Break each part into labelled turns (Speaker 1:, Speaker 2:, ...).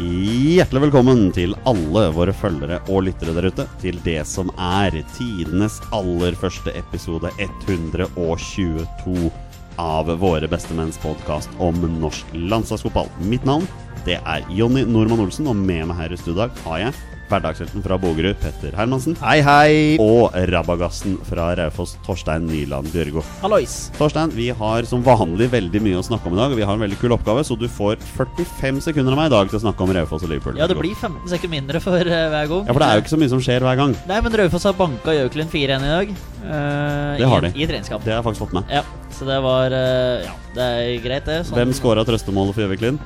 Speaker 1: Hjertelig velkommen til alle våre følgere og lyttere der ute til det som er tidenes aller første episode 122 av våre bestemenns podkast om norsk landslagsfotball. Mitt navn det er Jonny Normann Olsen, og med meg her i studio i dag har jeg hverdagshelten fra Bogerud, Petter Hermansen,
Speaker 2: Hei, hei!
Speaker 1: og rabagassen fra Raufoss, Torstein Nyland Bjørgo.
Speaker 2: Hallois!
Speaker 1: Torstein, vi har som vanlig veldig mye å snakke om i dag. og Vi har en veldig kul oppgave, så du får 45 sekunder av meg i dag til å snakke om Raufoss og Liverpool.
Speaker 2: Ja, det blir 15 sekunder mindre for eh, hver gang. Eh,
Speaker 1: Ja, for det er jo ikke så mye som skjer hver gang.
Speaker 2: Nei, men Raufoss har banka Jøkelen 4-1 i dag. eh,
Speaker 1: Det har
Speaker 2: i,
Speaker 1: de.
Speaker 2: I treningskamp.
Speaker 1: Det har jeg faktisk fått med.
Speaker 2: Ja, så det var eh, Ja, det er greit, det. Sånn,
Speaker 1: Hvem scora trøstemålet for Gjøviklin?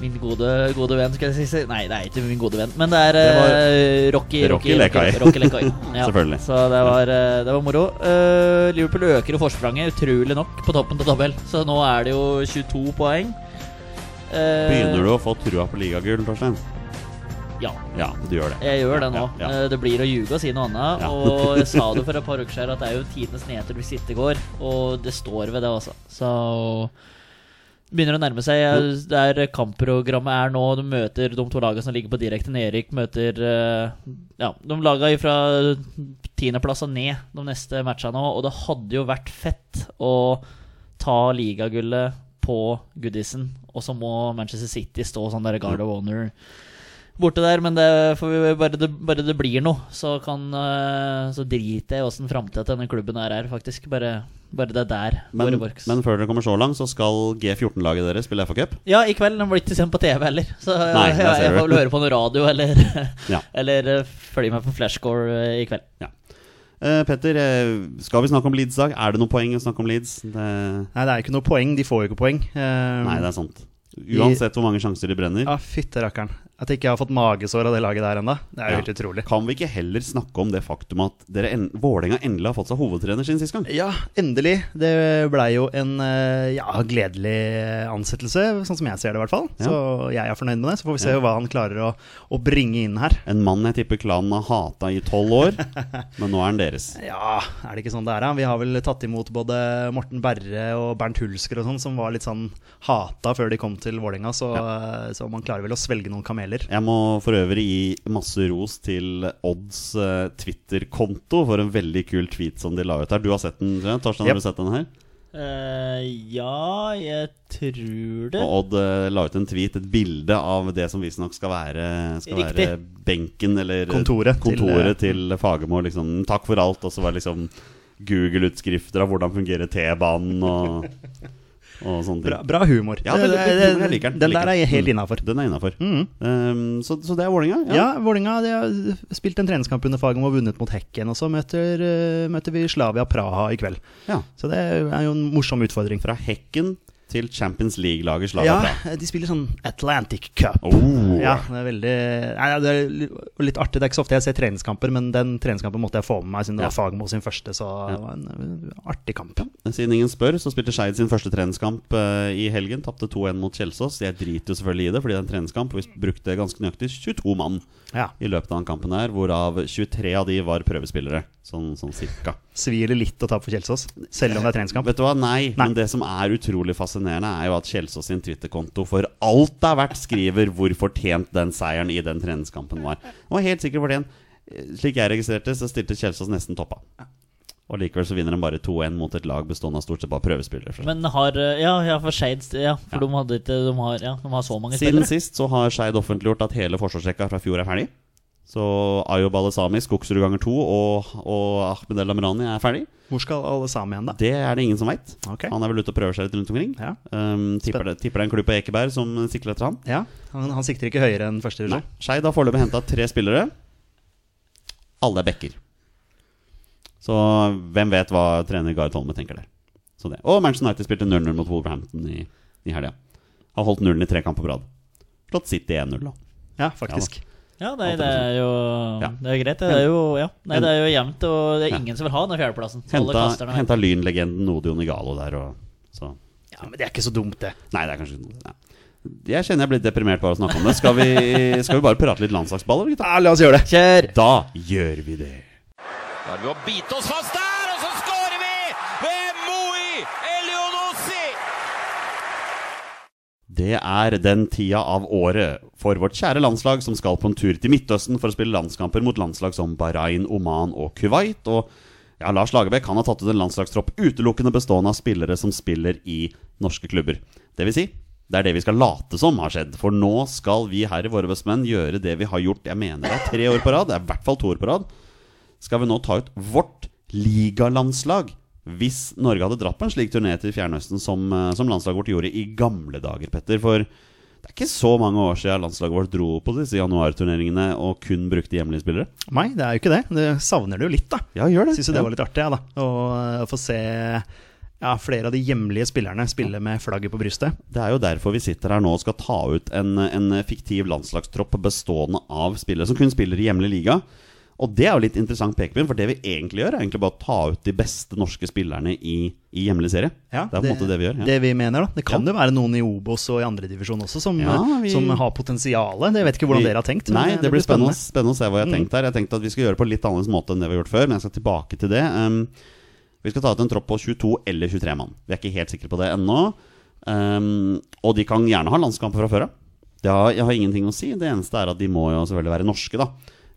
Speaker 2: Min gode, gode venn, skal jeg si. Nei, det er ikke min gode venn, men det er
Speaker 1: Det var-
Speaker 2: eh, Rocky
Speaker 1: Rocky Lekai.
Speaker 2: Rocky Lekai. Ja,
Speaker 1: Selvfølgelig.
Speaker 2: Så det var, eh, det var moro. Eh, Liverpool øker jo forspranget, utrolig nok, på toppen av tabell. Så nå er det jo 22 poeng. Eh,
Speaker 1: Begynner du å få trua på ligagull, Torstein?
Speaker 2: Ja.
Speaker 1: Ja, du gjør det.
Speaker 2: Jeg gjør det nå.
Speaker 1: Ja, ja.
Speaker 2: Eh, Det blir å ljuge og si noe annet.
Speaker 1: Ja.
Speaker 2: Og jeg sa det for et par uker siden at det er jo tidenes nedtur hvis ikke det går. Og det står ved det, altså. Så det begynner å nærme seg. Jeg- Det er kampprogrammet er nå. De møter de to lagene som ligger på direkte nedrykk. Møter eh, ja, de lagene fra tiendeplass og ned de neste matchene nå. Og det hadde jo vært fett å ta ligagullet på Goodison, og så må Manchester City stå sånn der Guard of Honor borte der, men det får vi bare, det, bare det blir noe, så kan eh, Så driter jeg i åssen framtida til denne klubben her er, faktisk. Bare, bare det er der
Speaker 1: Men,
Speaker 2: det works.
Speaker 1: men før dere kommer så langt, så skal G14-laget deres spille FA-cup.
Speaker 2: ja, i kveld. Den blir ikke sendt på TV heller, så jeg-
Speaker 1: Nei, der
Speaker 2: jeg,
Speaker 1: ser
Speaker 2: jeg
Speaker 1: du.
Speaker 2: får vel høre på noe radio eller,
Speaker 1: Ja.
Speaker 2: eller eh, følge med på flashscore eh, i kveld.
Speaker 1: Eh, Petter, eh, skal vi snakke om Leeds i dag? Er det noe poeng å snakke om Leeds? Det... Nei,
Speaker 3: Nei, det er jo ikke noe poeng. De får jo ikke poeng.
Speaker 2: Um,
Speaker 3: Eh,
Speaker 1: det er sant. Uansett hvor mange sjanser de brenner.
Speaker 3: Ja, fytte rakkeren. At jeg ikke har fått magesår av det laget der ennå. Det er jo
Speaker 1: Ja.
Speaker 3: helt utrolig.
Speaker 1: Kan vi ikke heller snakke om det faktum at dere en Vålerenga endelig har fått seg hovedtrener siden sist gang?
Speaker 3: Ja, endelig. Det blei jo en eh, ja, gledelig ansettelse, sånn som jeg ser det i hvert fall.
Speaker 1: Ja.
Speaker 3: Så jeg er fornøyd med det. Så får vi se hva han klarer å, å bringe inn her.
Speaker 1: En mann jeg tipper klanen har hata i tolv år, men nå er han deres.
Speaker 3: Ja, er det ikke sånn det er, da? Vi har vel tatt imot både Morten Berre og Bernt Hulsker og sånn, som var litt sånn hata før de kom til Vålerenga, så, eh, så man klarer vel å svelge noen kameler.
Speaker 1: Jeg må for øvrig gi masse ros til Odds eh, Twitter-konto for en veldig kul tweet som de la ut her. Du har sett den, tror jeg. Torstein, har
Speaker 3: Yep.
Speaker 1: du sett den her?
Speaker 2: Eh, ja, jeg tror det.
Speaker 1: Og Odd eh, la ut en tweet, et bilde av det som visstnok skal være Skal
Speaker 2: Riktig.
Speaker 1: være benken eller
Speaker 3: Kontoret til, eh,
Speaker 1: kontoret til, Fagermo. Liksom, takk for alt. Og så var det liksom Google-utskrifter av hvordan fungerer T-banen og, og sånne ting.
Speaker 3: Bra, bra humor.
Speaker 1: Ja, veldig bra humor. Jeg liker den.
Speaker 3: Eh, Den
Speaker 1: Jeg liker
Speaker 3: der er
Speaker 1: den.
Speaker 3: jeg helt
Speaker 1: Mm.
Speaker 3: innafor.
Speaker 1: Den er innafor. Ehm,
Speaker 3: Mhm.
Speaker 1: så, så det er Vålinga
Speaker 3: Ja, Vålinga de har spilt en treningskamp under Fagermo og vunnet mot Hekken. Og så møter, eh, møter vi Slavia Praha i kveld.
Speaker 1: Ja.
Speaker 3: Så det er jo en morsom utfordring.
Speaker 1: Fra hekken til Champions League-laget Slavia
Speaker 3: Ja,
Speaker 1: Praha.
Speaker 3: de spiller sånn Atlantic Cup.
Speaker 1: Oh.
Speaker 3: Ja, det er veldig nei, nei, det er litt- litt artig. Det er ikke så ofte jeg ser treningskamper, men den treningskampen måtte jeg få med meg siden
Speaker 1: Ja.
Speaker 3: det var Fagermo sin første, så det var en eh, artig kamp.
Speaker 1: Siden ingen spør, så spilte Skeid sin første treningskamp eh, i helgen. Tapte 2-1 mot Kjelsås. Jeg driter jo selvfølgelig i det, fordi det er en treningskamp. og Vi brukte ganske nøyaktig 22 mann
Speaker 3: Ja.
Speaker 1: i løpet av den kampen her, hvorav 23 av de var prøvespillere. Sånn, sånn cirka.
Speaker 3: Svir det litt å tape for Kjelsås, selv om det er treningskamp.
Speaker 1: Vet du hva, nei, men det som er utrolig fascinerende, er jo at Kjelsås sin Twitter-konto for alt det er verdt skriver hvor fortjent den seieren i den treningskampen var. Den var helt sikkert fortjent. Eh, Slik jeg registrerte, så stilte Kjelsås nesten toppa. Og likevel så vinner de bare 2-1 mot et lag bestående av stort sett bare prøvespillere. fra
Speaker 2: Men har eh, Ja, ja for Shades Ja,
Speaker 1: Ja.
Speaker 2: for de hadde ikke de har, ja, de har så mange
Speaker 1: Siden
Speaker 2: spillere.
Speaker 1: sist så har Skeid offentliggjort at hele forsvarsrekka fra fjor er ferdig. Så Ayo Balesami, Skogsrud ganger to og, og Ahmed El Amrani er ferdig.
Speaker 3: Hvor skal alle sammen igjen, da?
Speaker 1: Det er det ingen som veit.
Speaker 3: Ok.
Speaker 1: Han er vel ute og prøver seg litt rundt omkring.
Speaker 3: Ja.
Speaker 1: Um, tipper, det, tipper det er en klubb på Ekeberg som sikler etter han.
Speaker 3: Ja, han, han sikter ikke høyere enn første
Speaker 1: Nei.
Speaker 3: divisjon.
Speaker 1: Skeid har foreløpig henta tre spillere. Alle er backer. Så hvem vet hva trener Gahr Tolme tenker der. Så det. Og Manchester United spilte 0-0 mot Wolverhampton i, i helga. Har holdt nullen i tre kamper på rad. Slått City 1-0, da.
Speaker 3: Ja, faktisk.
Speaker 2: Ja, nei,
Speaker 1: Alt
Speaker 2: det
Speaker 1: er
Speaker 2: er jo
Speaker 1: Ja.
Speaker 2: Det er greit. Det er jo, ja. nei, det er jo jevnt, og det
Speaker 1: Ja.
Speaker 2: er ingen som vil ha den fjerdeplassen. Så alle
Speaker 1: Henta,
Speaker 2: kaster den vekk.
Speaker 1: henta lynlegenden Odion Igalo der og så
Speaker 3: Ja, men det er ikke så dumt, det.
Speaker 1: Nei, det er kanskje ikke noe ja. Jeg kjenner jeg blir deprimert bare av å snakke om det. Skal vi, skal vi bare prate litt landslagsballer, gutta?
Speaker 3: Ja, la oss gjøre det.
Speaker 2: Kjør!
Speaker 1: Da gjør vi det.
Speaker 4: Da er det ved å bite oss fast der, og så skårer vi ved Moi Elionossi!
Speaker 1: Det er den tida av året for vårt kjære landslag som skal på en tur til Midtøsten for å spille landskamper mot landslag som Bahrain, Oman og Kuwait. Og ja, Lars Lagerbäck han har tatt ut en landslagstropp utelukkende bestående av spillere som spiller i norske klubber. Det vil si, det er det vi skal late som har skjedd. For nå skal vi her i Våre bestemenn gjøre det vi har gjort jeg mener det er tre år på rad, det er i hvert fall to år på rad skal vi nå ta ut vårt ligalandslag hvis Norge hadde dratt på en slik turné til Fjernøsten som, eh, som landslaget vårt gjorde i gamle dager, Petter. For det er ikke så mange år siden landslaget vårt dro på disse januarturneringene og kun brukte hjemlige spillere.
Speaker 3: Nei, det er jo ikke det. Du savner det jo litt, da.
Speaker 1: Ja, gjør det.
Speaker 3: Syns jo det var litt artig, jeg, da. Å eh, få se ja, flere av de hjemlige spillerne spille med flagget på brystet.
Speaker 1: Det er jo derfor vi sitter her nå og skal ta ut en, en fiktiv landslagstropp bestående av spillere som kun spiller i hjemlig liga. Og det er jo litt interessant pekepinn, for det vi egentlig gjør, er egentlig bare å ta ut de beste norske spillerne i, i hjemlig serie.
Speaker 3: Ja,
Speaker 1: det er på en måte det vi gjør. ja.
Speaker 3: Det vi mener, da. Det kan jo være noen i Obos og i andredivisjon også som, eh,
Speaker 1: Ja, vi-
Speaker 3: som har potensialet. Det vet ikke hvordan dere har tenkt. men eh,
Speaker 1: Nei, det, blir spennende, spennende å se hva jeg har
Speaker 3: Mm.
Speaker 1: tenkt her. Jeg tenkte at vi skal gjøre det på litt annerledes måte enn det vi har gjort før, men jeg skal tilbake til det. Um, vi skal ta ut en tropp på 22 eller 23 mann. Vi er ikke helt sikre på det ennå. Um, og de kan gjerne ha landskamper fra før av. Det har, jeg har ingenting å si. Det eneste er at de må jo selvfølgelig være norske, da.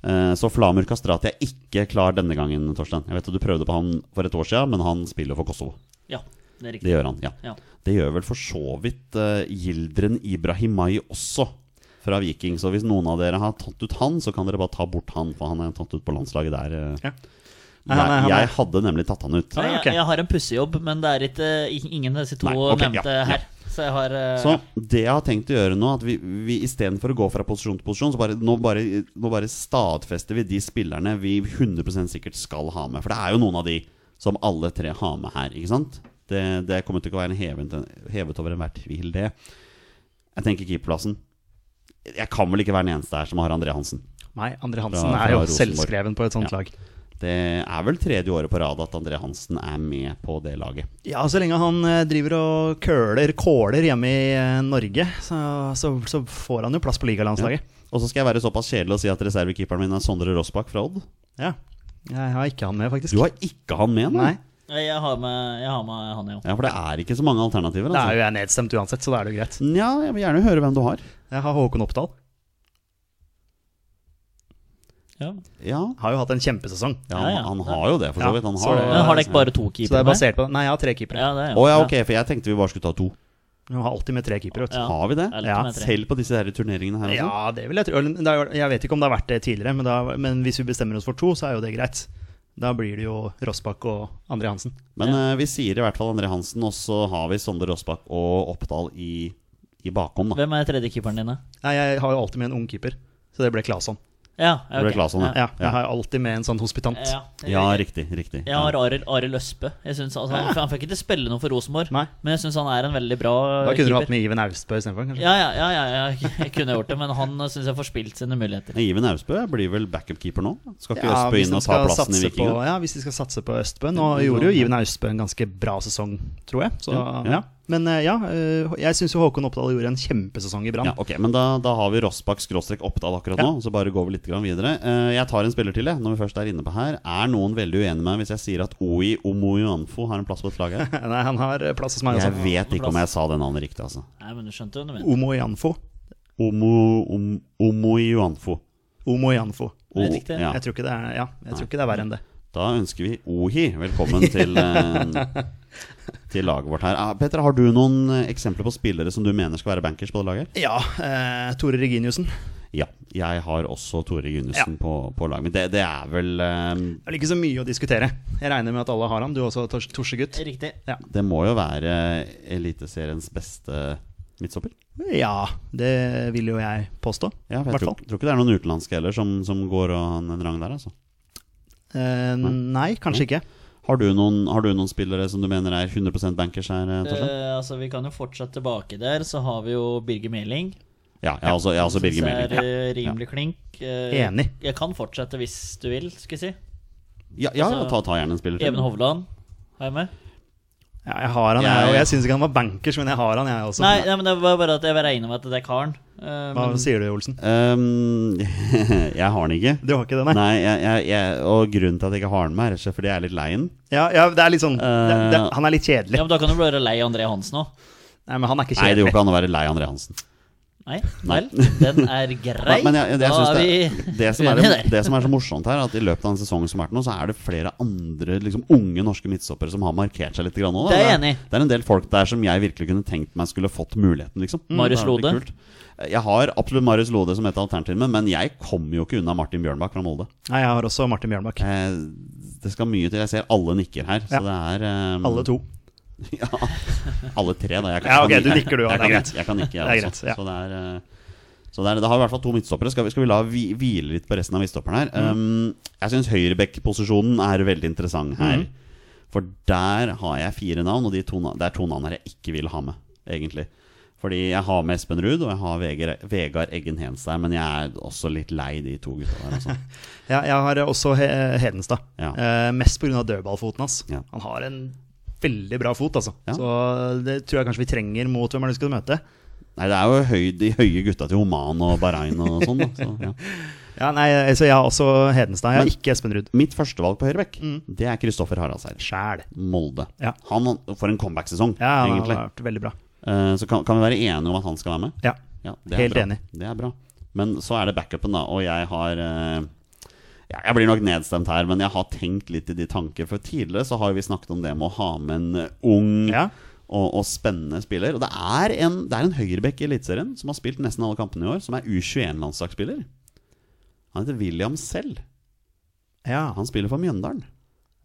Speaker 1: Eh, Så Flamur Kastrati er ikke klar denne gangen, Torstein. Jeg vet at du prøvde på han for et år siden, men han spiller for Kosovo.
Speaker 2: Ja, det er riktig.
Speaker 1: Det gjør han, ja.
Speaker 2: Ja.
Speaker 1: Det gjør vel for så vidt uh, Gildren Ibrahimai også, fra Viking. Så hvis noen av dere har tatt ut han, så kan dere bare ta bort han, for han er tatt ut på landslaget der. eh.
Speaker 3: Ja. Nei, han er-
Speaker 1: jeg,
Speaker 3: han er-
Speaker 1: jeg hadde nemlig tatt han ut.
Speaker 2: Nei,
Speaker 3: Ah, ok.
Speaker 2: jeg, jeg har en pussejobb, men det er ikke i- ingen av disse to
Speaker 1: Nei, ok, ja,
Speaker 2: nevnte
Speaker 1: ja.
Speaker 2: her. Så jeg har eh,
Speaker 1: Så det jeg har tenkt å gjøre nå, at vi, vi istedenfor å gå fra posisjon til posisjon, så bare, nå, bare, nå bare stadfester vi de spillerne vi 100 sikkert skal ha med. For det er jo noen av de som alle tre har med her, ikke sant? Det, det kommer til ikke å være en hevet, hevet over enhver tvil, det. Jeg tenker keeperplassen. Jeg kan vel ikke være den eneste her som har André Hansen.
Speaker 3: Nei, André Hansen
Speaker 1: Fra- fra
Speaker 3: er jo
Speaker 1: Rosenborg.
Speaker 3: selvskreven på et sånt
Speaker 1: Ja.
Speaker 3: lag.
Speaker 1: Det er vel tredje året på rad at André Hansen er med på det laget.
Speaker 3: Ja, så lenge han eh, driver og køler, kåler hjemme i eh, Norge, så, så, så får han jo plass på ligalandslaget.
Speaker 1: Og så skal jeg være såpass kjedelig og si at reservekeeperen min er Sondre Rossbakk fra Odd.
Speaker 3: Ja. Jeg har ikke han med, faktisk.
Speaker 1: Du har ikke han med nå?
Speaker 3: Nei,
Speaker 2: Nei, jeg har med, jeg har med han, jo.
Speaker 1: Ja, for det er ikke så mange alternativer. altså.
Speaker 3: Da er jo jeg nedstemt uansett, så da er det jo greit.
Speaker 1: Nja, jeg vil gjerne høre hvem du har.
Speaker 3: Jeg har Håkon Oppdal.
Speaker 2: Ja.
Speaker 1: Ja,
Speaker 3: Har jo hatt en kjempesesong.
Speaker 1: ja,
Speaker 2: Ja,
Speaker 1: han,
Speaker 2: ja.
Speaker 1: han har jo det, for så
Speaker 3: Ja,
Speaker 1: vidt. Han
Speaker 3: så-
Speaker 1: har det.
Speaker 2: Men har dere ikke bare to
Speaker 3: Så det
Speaker 2: keepere
Speaker 3: er basert på Nei, jeg har tre keepere.
Speaker 2: Ja, det er
Speaker 1: Å ja, ok, for jeg tenkte vi bare skulle ta to.
Speaker 3: Jeg har alltid med tre keepere, vet du.
Speaker 2: Ja.
Speaker 1: Har vi det?
Speaker 2: Det er
Speaker 3: Ja,
Speaker 2: lett med tre.
Speaker 1: Selv på disse her turneringene her altså. også?
Speaker 3: Ja, det vil jeg tro. Eller, det er jo- Jeg vet ikke om det har vært det tidligere, men, da, men hvis vi bestemmer oss for to, så er jo det greit. Da blir det jo Rossbakk og André Hansen.
Speaker 1: Men eh, vi sier i hvert fall André Hansen, og så har vi Sondre Rossbakk og Oppdal i, i bakhånd. Da.
Speaker 2: Hvem er tredjekeeperen dine?
Speaker 3: Nei, jeg har jo alltid med en ung keeper, så det ble Claesson.
Speaker 2: Ja,
Speaker 1: Det ble Claesson, ja.
Speaker 3: Ja, jeg har jo alltid med en sånn hospitant.
Speaker 2: ja.
Speaker 1: Ja, riktig. riktig
Speaker 2: Jeg har Arild Arild Østbø. Jeg synes, altså, han, han fikk ikke spille noe for Rosenborg,
Speaker 3: Ah. Nei.
Speaker 2: men jeg syns han er en veldig bra
Speaker 3: Da kunne du hatt
Speaker 2: keeper.
Speaker 3: med Iven Austbø istedenfor, kanskje.
Speaker 2: Ja, ja, ja, ja, ja, jeg kunne gjort det, men han syns jeg får spilt sine muligheter.
Speaker 1: Men Iven Austbø blir vel backup-keeper nå? Skal ikke
Speaker 3: Ja,
Speaker 1: Østbø
Speaker 3: hvis
Speaker 1: inn
Speaker 3: de
Speaker 1: og ta
Speaker 3: skal
Speaker 1: plassen i
Speaker 3: satse
Speaker 1: Vikinga?
Speaker 3: På, ja, hvis de skal satse på Østbø. Nå gjorde jo Iven Austbø en ganske bra sesong, tror jeg. Så,
Speaker 1: Ja,
Speaker 3: ja,
Speaker 1: ja.
Speaker 3: Men eh, ja, eh, jeg syns jo Håkon Oppdal gjorde en kjempesesong i Brann.
Speaker 1: Ja, ok, Men da, da har vi Rossbakk skråstrek Oppdal akkurat
Speaker 3: Ja.
Speaker 1: nå. Så bare går vi litt grann videre. Eh, jeg tar en spiller til, jeg, når vi først er inne på her. Er noen veldig uenig med meg hvis jeg sier at Oi Omoyanfo har en plass på et lag her?
Speaker 3: Nei, han har eh, plass hos meg
Speaker 1: Jeg
Speaker 3: også.
Speaker 1: vet ikke om jeg sa det navnet riktig, altså.
Speaker 2: Nei, men du skjønte jo hva du mener.
Speaker 3: Omo Janfo.
Speaker 1: Omo, om, omoyanfo.
Speaker 3: Omo Janfo.
Speaker 2: Det er riktig.
Speaker 1: ja.
Speaker 3: Jeg tror ikke det er, ja, jeg tror ikke det er verre enn det.
Speaker 1: Da ønsker vi Ohi velkommen til, eh, til laget vårt her. Ah, Petter, har du noen eh, eksempler på spillere som du mener skal være bankers på det laget? her?
Speaker 3: Ja, eh, Tore Reginiussen.
Speaker 1: Ja. Jeg har også Tore Gundersen
Speaker 3: Ja.
Speaker 1: på, på laget mitt. Det, det er vel eh,
Speaker 3: Det er vel ikke så mye å diskutere. Jeg regner med at alle har han. Du også, Tors Torsegutt.
Speaker 2: Riktig.
Speaker 1: Det må jo være Eliteseriens beste midtstopper.
Speaker 3: Ja, det vil jo jeg påstå.
Speaker 1: Ja, for jeg
Speaker 3: Hvertfall.
Speaker 1: tror, tror ikke det er noen utenlandske heller som, som går og har en rang der, altså.
Speaker 3: Eh, nei, kanskje ikke.
Speaker 1: Har du, noen, har du noen spillere som du mener er 100 bankers her, eh, Torstein?
Speaker 2: Eh, altså, vi kan jo fortsette tilbake der. Så har vi jo Birger Meling.
Speaker 1: Ja, jeg har også, jeg har også Birger
Speaker 2: Synes
Speaker 1: Meling.
Speaker 2: jeg Er eh, rimelig klink. Eh,
Speaker 3: Enig.
Speaker 2: Jeg kan fortsette hvis du vil, skal jeg si.
Speaker 1: Ja, ja,
Speaker 2: altså,
Speaker 1: ta, ta gjerne en spiller
Speaker 2: Even
Speaker 1: til.
Speaker 2: Hovland har jeg med.
Speaker 3: Ja, jeg har han,
Speaker 1: Ja,
Speaker 3: jeg, og
Speaker 1: ja.
Speaker 3: jeg syns ikke han var bankers, men jeg har han, jeg også.
Speaker 2: Nei, nei, men det var bare at jeg regner med at det er karen. Eh,
Speaker 3: Sånn, Hva
Speaker 2: men-
Speaker 3: sier du, Olsen?
Speaker 1: Ehm, jeg har den ikke.
Speaker 3: Du har ikke det, nei?
Speaker 1: Nei, jeg, jeg, jeg, og grunnen til at jeg ikke har den med, er rett og slett fordi jeg er litt lei den.
Speaker 3: Ja, ja, det er litt sånn det,
Speaker 1: Eh,
Speaker 3: det, Han er litt
Speaker 2: ja,
Speaker 3: kjedelig.
Speaker 2: men Da kan du bli lei André Hansen òg.
Speaker 3: Nei, men han er
Speaker 1: Nei, det
Speaker 3: ikke kjedelig.
Speaker 1: går ikke an å være lei André Hansen.
Speaker 2: Nei,
Speaker 1: Nei.
Speaker 2: vel. Den er grei.
Speaker 1: Men jeg, jeg, jeg
Speaker 2: da
Speaker 1: synes
Speaker 2: er
Speaker 1: det,
Speaker 2: vi
Speaker 1: det, som er,
Speaker 2: uenige der.
Speaker 1: det som er så morsomt her, er at i løpet av den sesongen som har vært nå, så er det flere andre liksom, unge norske midtstoppere som har markert seg litt. Grann nå, da.
Speaker 2: Det er jeg enig i.
Speaker 1: det er en del folk der som jeg virkelig kunne tenkt meg skulle fått muligheten. Liksom.
Speaker 2: Mm. Marius
Speaker 1: Det er veldig
Speaker 2: Lode.
Speaker 1: kult. Jeg har absolutt Marius Lode som et alternativ, men- men jeg kommer jo ikke unna Martin Bjørnbakk fra Molde.
Speaker 3: Nei, jeg har også Martin Bjørnbakk.
Speaker 1: Eh, Det skal mye til. Jeg ser alle nikker her, så det er eh,
Speaker 3: Alle to.
Speaker 1: Ja, alle tre, da. Jeg kan,
Speaker 3: Ja,
Speaker 1: jeg
Speaker 3: ok,
Speaker 1: kan
Speaker 3: du
Speaker 1: nikke.
Speaker 3: nikker du, ja,
Speaker 1: Jeg
Speaker 3: det er
Speaker 1: kan
Speaker 3: greit.
Speaker 1: nikke, Jeg kan nikke, jeg
Speaker 3: Det er
Speaker 1: også.
Speaker 3: greit, ja.
Speaker 1: Så det er eh, så det, er, det har i hvert fall to midtstoppere. Skal vi, skal vi la vi, hvile litt på resten av midtstopperne her?
Speaker 3: Mm.
Speaker 1: Um, jeg syns høyrebekkposisjonen er veldig interessant
Speaker 3: Mm.
Speaker 1: her. For der har jeg fire navn, og de to, na- det er to navn her jeg ikke vil ha med, egentlig. Fordi jeg har med Espen Ruud, og jeg har Vegard, Vegard Eggen Hens der, men jeg er også litt lei de to gutta der, altså.
Speaker 3: Ja, jeg har også He Hedenstad.
Speaker 1: Ja.
Speaker 3: Eh, mest pga. dødballfoten hans.
Speaker 1: Ja.
Speaker 3: Han har en veldig bra fot, altså.
Speaker 1: Ja.
Speaker 3: Så det tror jeg kanskje vi trenger mot hvem er det vi skal møte.
Speaker 1: Nei, det er jo høy, de høye gutta til Oman og Bahrain og sånn, da. Så, ja.
Speaker 3: Ja, nei, altså Jeg har også Hedenstad. Jeg har
Speaker 1: Men-
Speaker 3: ikke Espen Ruud.
Speaker 1: Mitt førstevalg på høyrebekk, det er Kristoffer Haraldseid.
Speaker 3: Sjæl.
Speaker 1: Molde.
Speaker 3: Mm. Ja.
Speaker 1: Han får en comeback-sesong,
Speaker 3: Ja, han
Speaker 1: egentlig.
Speaker 3: har vært veldig bra.
Speaker 1: Eh, Så kan, kan vi være enige om at han skal være med?
Speaker 3: Ja.
Speaker 1: Ja, det er
Speaker 3: Helt
Speaker 1: bra.
Speaker 3: enig.
Speaker 1: Det er bra. Men så er det backupen, da. Og jeg har eh, ja, Jeg blir nok nedstemt her, men jeg har tenkt litt i de tanker. For tidligere så har vi snakket om det med å ha med en eh, ung
Speaker 3: Ja.
Speaker 1: og, og spennende spiller. Og det er en, det er en høyrebekk i Eliteserien som har spilt nesten alle kampene i år, som er U21-landslagsspiller. Han heter William Sell.
Speaker 3: Ja,
Speaker 1: Han spiller for Mjøndalen.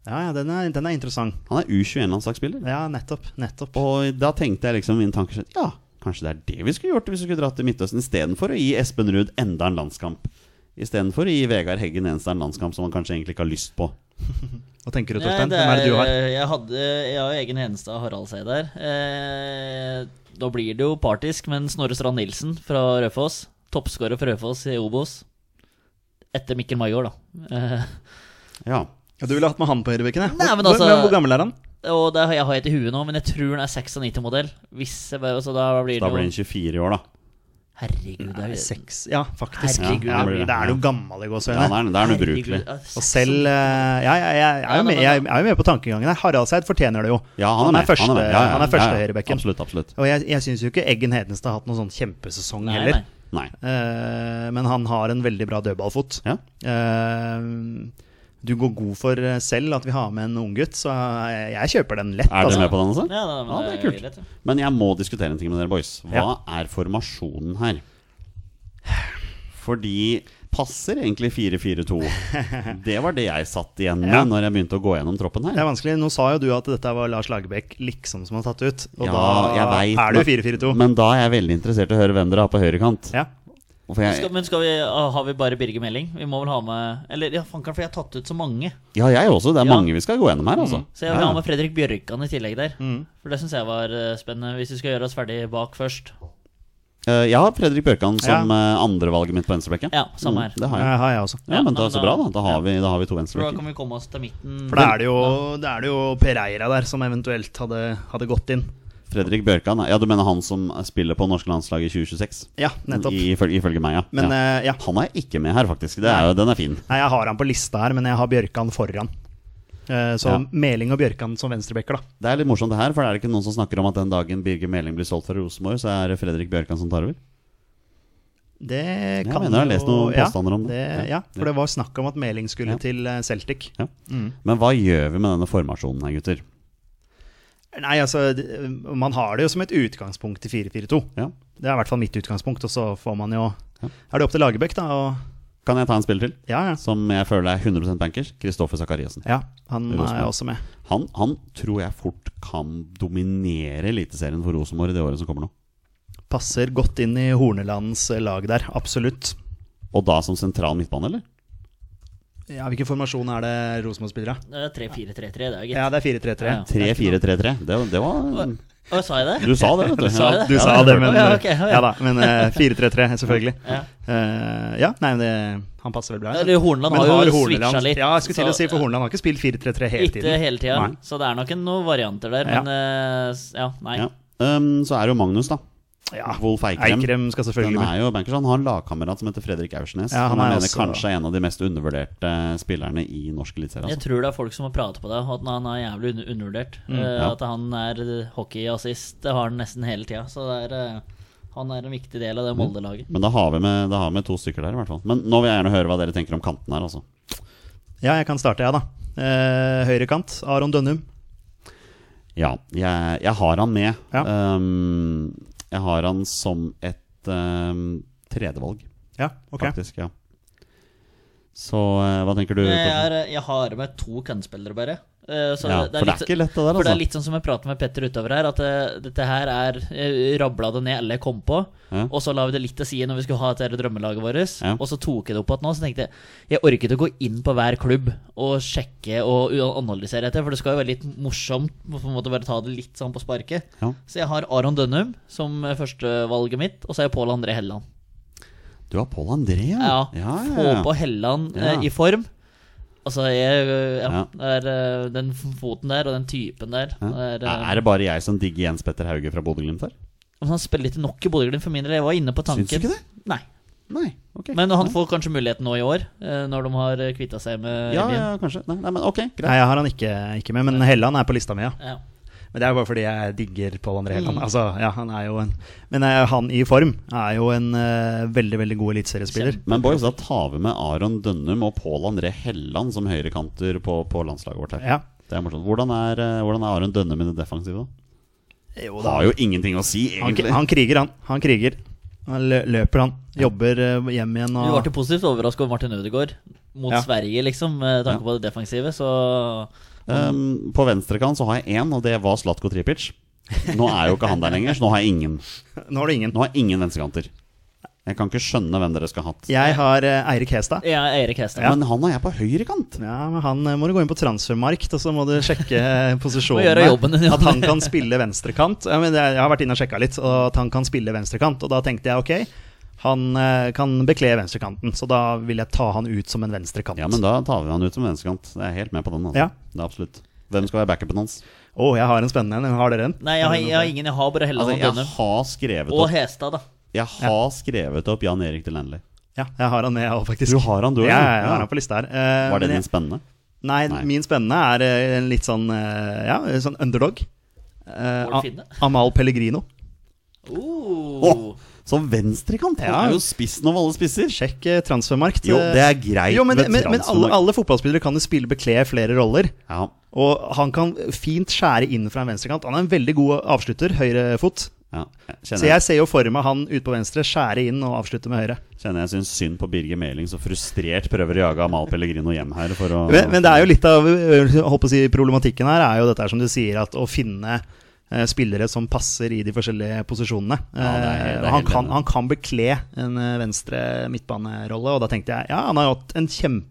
Speaker 3: ja, ja den, er, den er interessant.
Speaker 1: Han er U21-landslagsspiller.
Speaker 3: Ja, nettopp. Nettopp.
Speaker 1: Og da tenkte jeg liksom i min tankesett Ja, kanskje det er det vi skulle gjort hvis vi skulle dratt til Midtøsten istedenfor å gi Espen Ruud enda en landskamp. Istedenfor å gi Vegard Heggen Enstad en landskamp som han kanskje egentlig ikke har lyst på.
Speaker 3: Hva tenker du,
Speaker 2: Nei,
Speaker 3: Torstein? Hvem er det du har?
Speaker 2: eh, Jeg, hadde, jeg har jo egen Henestad og Harald Seid der. Eh, da blir det jo partisk, men Snorre Strand Nilsen fra Rødfoss. Toppskårer for Rødfoss i Obos. Etter Mikkel Maigård, da. Eh,
Speaker 1: Ja.
Speaker 3: Ja, Du ville hatt med han på høyrebekken, ja.
Speaker 2: Nei, men
Speaker 3: Hvor-
Speaker 2: altså-
Speaker 3: hvor, hvor gammel er han?
Speaker 2: og det, har- jeg har et i huet nå, men jeg tror han er 96-modell. Hvis jeg bare, Så da blir det
Speaker 1: Da blir han
Speaker 2: jo
Speaker 1: 24 år, da.
Speaker 2: Herregud, det er
Speaker 3: Nei,
Speaker 2: jo
Speaker 3: Seks Ja, faktisk.
Speaker 2: Herregud,
Speaker 3: ja,
Speaker 1: det blir
Speaker 3: det,
Speaker 1: det.
Speaker 3: er jo gammel i
Speaker 1: Ja,
Speaker 3: gåseøynene.
Speaker 1: da er, da er han ubrukelig.
Speaker 2: herregud, ja, seks-
Speaker 3: Og selv eh, Ja, ja, ja, jeg, er
Speaker 2: Ja,
Speaker 3: jo
Speaker 2: men-
Speaker 3: med, jeg, er jo med på tankegangen her. Haraldseid fortjener det jo.
Speaker 1: Ja, han er, med.
Speaker 3: første,
Speaker 1: med. Ja, ja,
Speaker 3: han er første
Speaker 1: ja, ja.
Speaker 3: høyrebekken.
Speaker 1: Absolutt, absolutt.
Speaker 3: Og jeg, jeg syns jo ikke Eggen Hedenstad har hatt noen sånn kjempesesong
Speaker 2: Nei,
Speaker 3: heller.
Speaker 2: nei.
Speaker 1: Nei.
Speaker 3: Eh, men han har en veldig bra dødballfot.
Speaker 1: Ja.
Speaker 3: Eh, du går god for eh, selv at vi har med en unggutt, så jeg, jeg kjøper den lett.
Speaker 1: Er dere
Speaker 3: Altså.
Speaker 1: med på den? Altså?
Speaker 2: Ja, da, men
Speaker 1: Ja, det er kult.
Speaker 2: greit, ja.
Speaker 1: Men jeg må diskutere en ting med dere, boys. Hva er formasjonen her? Fordi passer egentlig 4-4-2? Det var det jeg satt igjen med
Speaker 3: Ja.
Speaker 1: når jeg begynte å gå gjennom troppen
Speaker 3: Det
Speaker 1: her.
Speaker 3: er vanskelig. Nå sa jo du at dette var Lars Lagerbäck liksom som har tatt ut, og
Speaker 1: Ja,
Speaker 3: da
Speaker 1: jeg vet,
Speaker 3: er det jo
Speaker 1: men- Men
Speaker 3: 4-4-2.
Speaker 1: da er jeg veldig interessert i å høre hvem dere har på høyrekant.
Speaker 3: Ja.
Speaker 1: For jeg,
Speaker 2: Skal, men skal vi, har vi bare Birger Meling? Vi må vel ha med Eller ja, fanken, for jeg har tatt ut så mange.
Speaker 1: ja, jeg også. Det er
Speaker 2: Ja. Mm.
Speaker 1: mange vi skal gå gjennom her, altså.
Speaker 2: Så jeg vil
Speaker 1: Ja,
Speaker 2: ha med Fredrik Bjørkan i tillegg der. For det syns jeg var eh, spennende. Hvis vi skal gjøre oss ferdig bak først.
Speaker 1: Eh, jeg har Fredrik Bjørkan som eh, andrevalget mitt på venstrebekken.
Speaker 2: Ja, samme her.
Speaker 1: Mm, det har jeg.
Speaker 3: Jeg har jeg også.
Speaker 1: Ja, men det er
Speaker 2: Ja,
Speaker 1: så
Speaker 2: men
Speaker 1: bra,
Speaker 2: da-
Speaker 1: da. Da har vi, da har vi to
Speaker 2: For da
Speaker 1: venstrebekker.
Speaker 2: kan vi komme oss til midten.
Speaker 3: For da er det jo, da er det jo Pereira der som eventuelt hadde, hadde gått inn.
Speaker 1: Fredrik Bjørkan Ja, du mener han som spiller på norske landslag i 2026?
Speaker 3: Ja, nettopp.
Speaker 1: I- Ifølge, ifølge meg, ja.
Speaker 3: Men
Speaker 1: ja.
Speaker 3: eh, ja.
Speaker 1: Han er ikke med her, faktisk. Det er jo, den er fin.
Speaker 3: Nei, jeg har han på lista her, men jeg har Bjørkan foran. Eh, Så
Speaker 1: Ja.
Speaker 3: Meling og Bjørkan som venstrebacker, da.
Speaker 1: Det er litt morsomt, det her. For er det ikke noen som snakker om at den dagen Birger Meling blir solgt fra Rosenborg, så er det Fredrik Bjørkan som tar over?
Speaker 3: Det
Speaker 1: Jeg
Speaker 3: kan
Speaker 1: mener jeg har lest noen
Speaker 3: ja,
Speaker 1: påstander om det. Ja.
Speaker 3: Ja, for det var snakk om at Meling skulle
Speaker 1: Ja.
Speaker 3: til eh, Celtic.
Speaker 1: Ja. Men hva gjør vi med denne formasjonen her, gutter?
Speaker 3: Nei, altså, det- man har det jo som et utgangspunkt i 4-4-2.
Speaker 1: Ja.
Speaker 3: Det er i hvert fall mitt utgangspunkt, og så får man jo
Speaker 1: Ja.
Speaker 3: Er det opp til Lagerbäck, da? Og,
Speaker 1: Kan jeg ta en spiller til?
Speaker 3: ja, ja.
Speaker 1: Som jeg føler er 100 bankers? Kristoffer Sakariassen.
Speaker 3: ja. Han
Speaker 1: Det er
Speaker 3: er
Speaker 1: Rosenborg.
Speaker 3: også med.
Speaker 1: Han, han tror jeg fort kan dominere Eliteserien for Rosenborg i det året som kommer nå.
Speaker 3: Passer godt inn i Hornelands eh, lag der, absolutt.
Speaker 1: Og da som sentral midtbane, eller?
Speaker 3: Ja, Hvilken formasjon er det Rosenborg-spillere?
Speaker 2: Det er 3-4-3-3, det er jo gitt.
Speaker 3: Ja, det er 4-3-3.
Speaker 2: Ja.
Speaker 1: 3-4-3-3. Det, det var
Speaker 2: Å, sa jeg det?
Speaker 1: Du sa det, vet du.
Speaker 2: Sa jeg det?
Speaker 3: Du
Speaker 2: Ja,
Speaker 3: sa
Speaker 2: jeg
Speaker 3: det,
Speaker 2: hørte
Speaker 3: men
Speaker 2: Ja, ok, ja, ja.
Speaker 3: Ja da, men eh, 4-3-3, selvfølgelig.
Speaker 2: Ja.
Speaker 3: Eh, ja, nei, men det, han passer vel bra.
Speaker 2: Eller Horneland har jo switcha litt,
Speaker 3: Ja, jeg skulle til å
Speaker 2: så-
Speaker 3: si, for Horneland har ikke spilt 4-3-3 hele
Speaker 2: Ikke
Speaker 3: tiden.
Speaker 2: hele tida. Så det er nok en- noen varianter der, men eh, s- ja, nei.
Speaker 1: Ja. Um, så Ehm, er det jo Magnus, da.
Speaker 3: Ja,
Speaker 1: Wolf Eikrem.
Speaker 3: Eikrem skal
Speaker 1: Den
Speaker 3: selvfølgelig med.
Speaker 1: er jo bankers. Han har en lagkamerat som heter Fredrik Aursnes.
Speaker 3: Ja,
Speaker 1: han
Speaker 3: han er
Speaker 1: mener
Speaker 3: også-
Speaker 1: kanskje er en av de mest undervurderte eh, spillerne i norsk eliteserie.
Speaker 2: Jeg
Speaker 1: Altså.
Speaker 2: tror det er folk som har pratet på det, og at han er jævlig under- undervurdert. Eh,
Speaker 1: ja.
Speaker 2: At han er hockeyassist, det har han nesten hele tida. Så det er, eh, han er en viktig del
Speaker 1: Mm.
Speaker 2: av det Molde-laget.
Speaker 1: Men da har, vi med, da har vi med to stykker der, i hvert fall. Men nå vil jeg gjerne høre hva dere tenker om kanten her, altså.
Speaker 3: Ja, jeg kan starte, jeg, da. Eh, høyre kant, Aron Dønnum.
Speaker 1: Ja, jeg, jeg har han med.
Speaker 3: Ja.
Speaker 1: Um, jeg har han som et um, tredjevalg,
Speaker 3: Ja, ok.
Speaker 1: faktisk. Ja. Så eh, hva tenker du?
Speaker 2: Jeg,
Speaker 1: Torsten?
Speaker 2: er, jeg har med to kantspillere, bare. Eh, Så
Speaker 1: ja,
Speaker 2: det, det
Speaker 1: for det
Speaker 2: er litt,
Speaker 1: er ikke lett, det der,
Speaker 2: For det
Speaker 1: altså.
Speaker 2: er litt sånn som jeg prater med Petter utover her, at eh, dette her er jeg Rabla det ned alle jeg kom på,
Speaker 1: Ja.
Speaker 2: og så la vi det litt til side når vi skulle ha dette her drømmelaget vårt,
Speaker 1: Ja.
Speaker 2: og så tok jeg det opp igjen nå, så tenkte jeg jeg orket å gå inn på hver klubb og sjekke og u- analysere etter, for det skal jo være litt morsomt på en måte bare ta det litt sånn på sparket.
Speaker 1: Ja.
Speaker 2: Så jeg har Aron Dønnum som førstevalget mitt, og så har jeg Pål André Helland.
Speaker 1: Du har Pål André, ja.
Speaker 2: Ja,
Speaker 1: Mm. ja, ja,
Speaker 2: Få
Speaker 1: ja.
Speaker 2: på Helland eh,
Speaker 1: Ja.
Speaker 2: i form. Altså, jeg, eh, ja,
Speaker 1: Ja.
Speaker 2: Det er, eh, den foten der og den typen der.
Speaker 1: Ja.
Speaker 2: det er, eh,
Speaker 1: Er det bare jeg som digger Jens Petter Hauge fra Bodø-Glimt her?
Speaker 2: Men han spiller ikke nok i Bodø-Glimt for min del. Jeg var inne på tanken.
Speaker 1: Syns du ikke det?
Speaker 2: Nei.
Speaker 1: Nei, ok
Speaker 2: Men han
Speaker 1: Nei.
Speaker 2: får kanskje muligheten nå i år, eh, når de har kvitta seg med
Speaker 1: ja, ja,
Speaker 2: Elien.
Speaker 1: kanskje. Nei, nei, men ok, greit.
Speaker 3: Nei, jeg har han ikke, ikke med, men Helland er på lista mi, ja.
Speaker 2: Ja.
Speaker 3: Men det er jo bare fordi jeg digger Pål André
Speaker 2: Mm.
Speaker 3: Helland. Altså, ja, han er jo en Men eh, han i form er jo en eh, veldig, veldig god eliteseriespiller.
Speaker 1: Men boys, da tar vi med Aron Dønnum og Pål André Helland som høyrekanter på, på landslaget vårt her.
Speaker 3: Ja.
Speaker 1: Det er morsomt. Hvordan er, eh, hvordan er Aron Dønnum i det defensive, da?
Speaker 3: Jo, da.
Speaker 1: Har jo ingenting å si,
Speaker 3: Han,
Speaker 1: egentlig.
Speaker 3: han kriger, han. Han kriger. Han lø- løper, han. Jobber eh, hjem igjen
Speaker 2: Vi
Speaker 3: og
Speaker 2: ble positivt overraska over Martin Ødegaard mot
Speaker 3: Ja.
Speaker 2: Sverige, liksom, med
Speaker 1: Ja.
Speaker 2: tanke på det defensive, så
Speaker 1: Um, på venstrekant så har jeg én, og det var Slatko Tripic. Nå er jo ikke han der lenger, så nå har jeg ingen.
Speaker 3: Nå har du ingen.
Speaker 1: Nå har jeg ingen venstrekanter. Jeg kan ikke skjønne hvem dere skal ha hatt.
Speaker 3: Jeg har eh, Eirik Hestad.
Speaker 2: Ja, Eirik Hestad.
Speaker 1: Men han har jeg på høyrekant.
Speaker 3: Ja, men Han eh, må du gå inn på transfermarkt, og så må du sjekke posisjonene.
Speaker 2: Må gjøre jobben din, ja.
Speaker 3: At han kan spille venstrekant. Ja, men jeg jeg har vært inne og sjekka litt, og at han kan spille venstrekant. Og da tenkte jeg ok, han eh, kan bekle venstrekanten, så da vil jeg ta han ut som en venstrekant.
Speaker 1: Ja, men da tar vi han ut som venstrekant. Jeg er helt med på den. Altså.
Speaker 3: Ja.
Speaker 1: Det er absolutt. Hvem skal være backupen hans?
Speaker 3: Å, jeg har en spennende en. Har dere en?
Speaker 2: Nei, jeg har, jeg har ingen. Jeg har bare Helland
Speaker 1: Altså,
Speaker 2: og
Speaker 1: jeg
Speaker 2: Dønnum.
Speaker 1: har skrevet
Speaker 2: Og
Speaker 1: opp,
Speaker 2: Hestad, da.
Speaker 1: jeg har skrevet opp Jan Erik Delanley.
Speaker 3: Ja, jeg har han med, jeg òg, faktisk.
Speaker 1: Du har han, du
Speaker 3: ja,
Speaker 1: også?
Speaker 3: ja, jeg
Speaker 1: Ja.
Speaker 3: har han på lista her. Eh,
Speaker 1: Var det
Speaker 3: men
Speaker 1: din spennende?
Speaker 3: jeg- Nei,
Speaker 1: Nei.
Speaker 3: min spennende er eh, en litt sånn eh, Ja, sånn underdog. Eh,
Speaker 2: Bård Finne?
Speaker 3: A- Amal Pellegrino.
Speaker 2: Oh.
Speaker 1: Som venstrekant! Han
Speaker 3: Ja.
Speaker 1: er jo spissen av alle spisser.
Speaker 3: Sjekk eh, transfermarkt.
Speaker 1: Jo, det er greit
Speaker 3: Jo, men,
Speaker 1: med
Speaker 3: men, men alle,
Speaker 1: transfermarkt.
Speaker 3: alle fotballspillere kan jo spille bekle flere roller.
Speaker 1: Ja.
Speaker 3: Og han kan fint skjære inn fra en venstrekant. Han er en veldig god avslutter, høyrefot.
Speaker 1: ja. Jeg
Speaker 3: Så
Speaker 1: Kjenner jeg,
Speaker 3: jeg ser jo for meg han ute på venstre skjære inn og avslutte med høyre.
Speaker 1: kjenner jeg syns synd på Birger Meling, som frustrert prøver å jage Amal Pellegrino hjem her. For å,
Speaker 3: Men, men det er jo litt av ø, holdt på å si, problematikken her, er jo dette her som du sier, at å finne eh, spillere som passer i de forskjellige posisjonene.
Speaker 1: Ja, det er- det er
Speaker 3: Eh, og han,
Speaker 1: helt
Speaker 3: kan,
Speaker 1: enig.
Speaker 3: han kan bekle en eh, venstre midtbanerolle, og da tenkte jeg ja, han har hatt en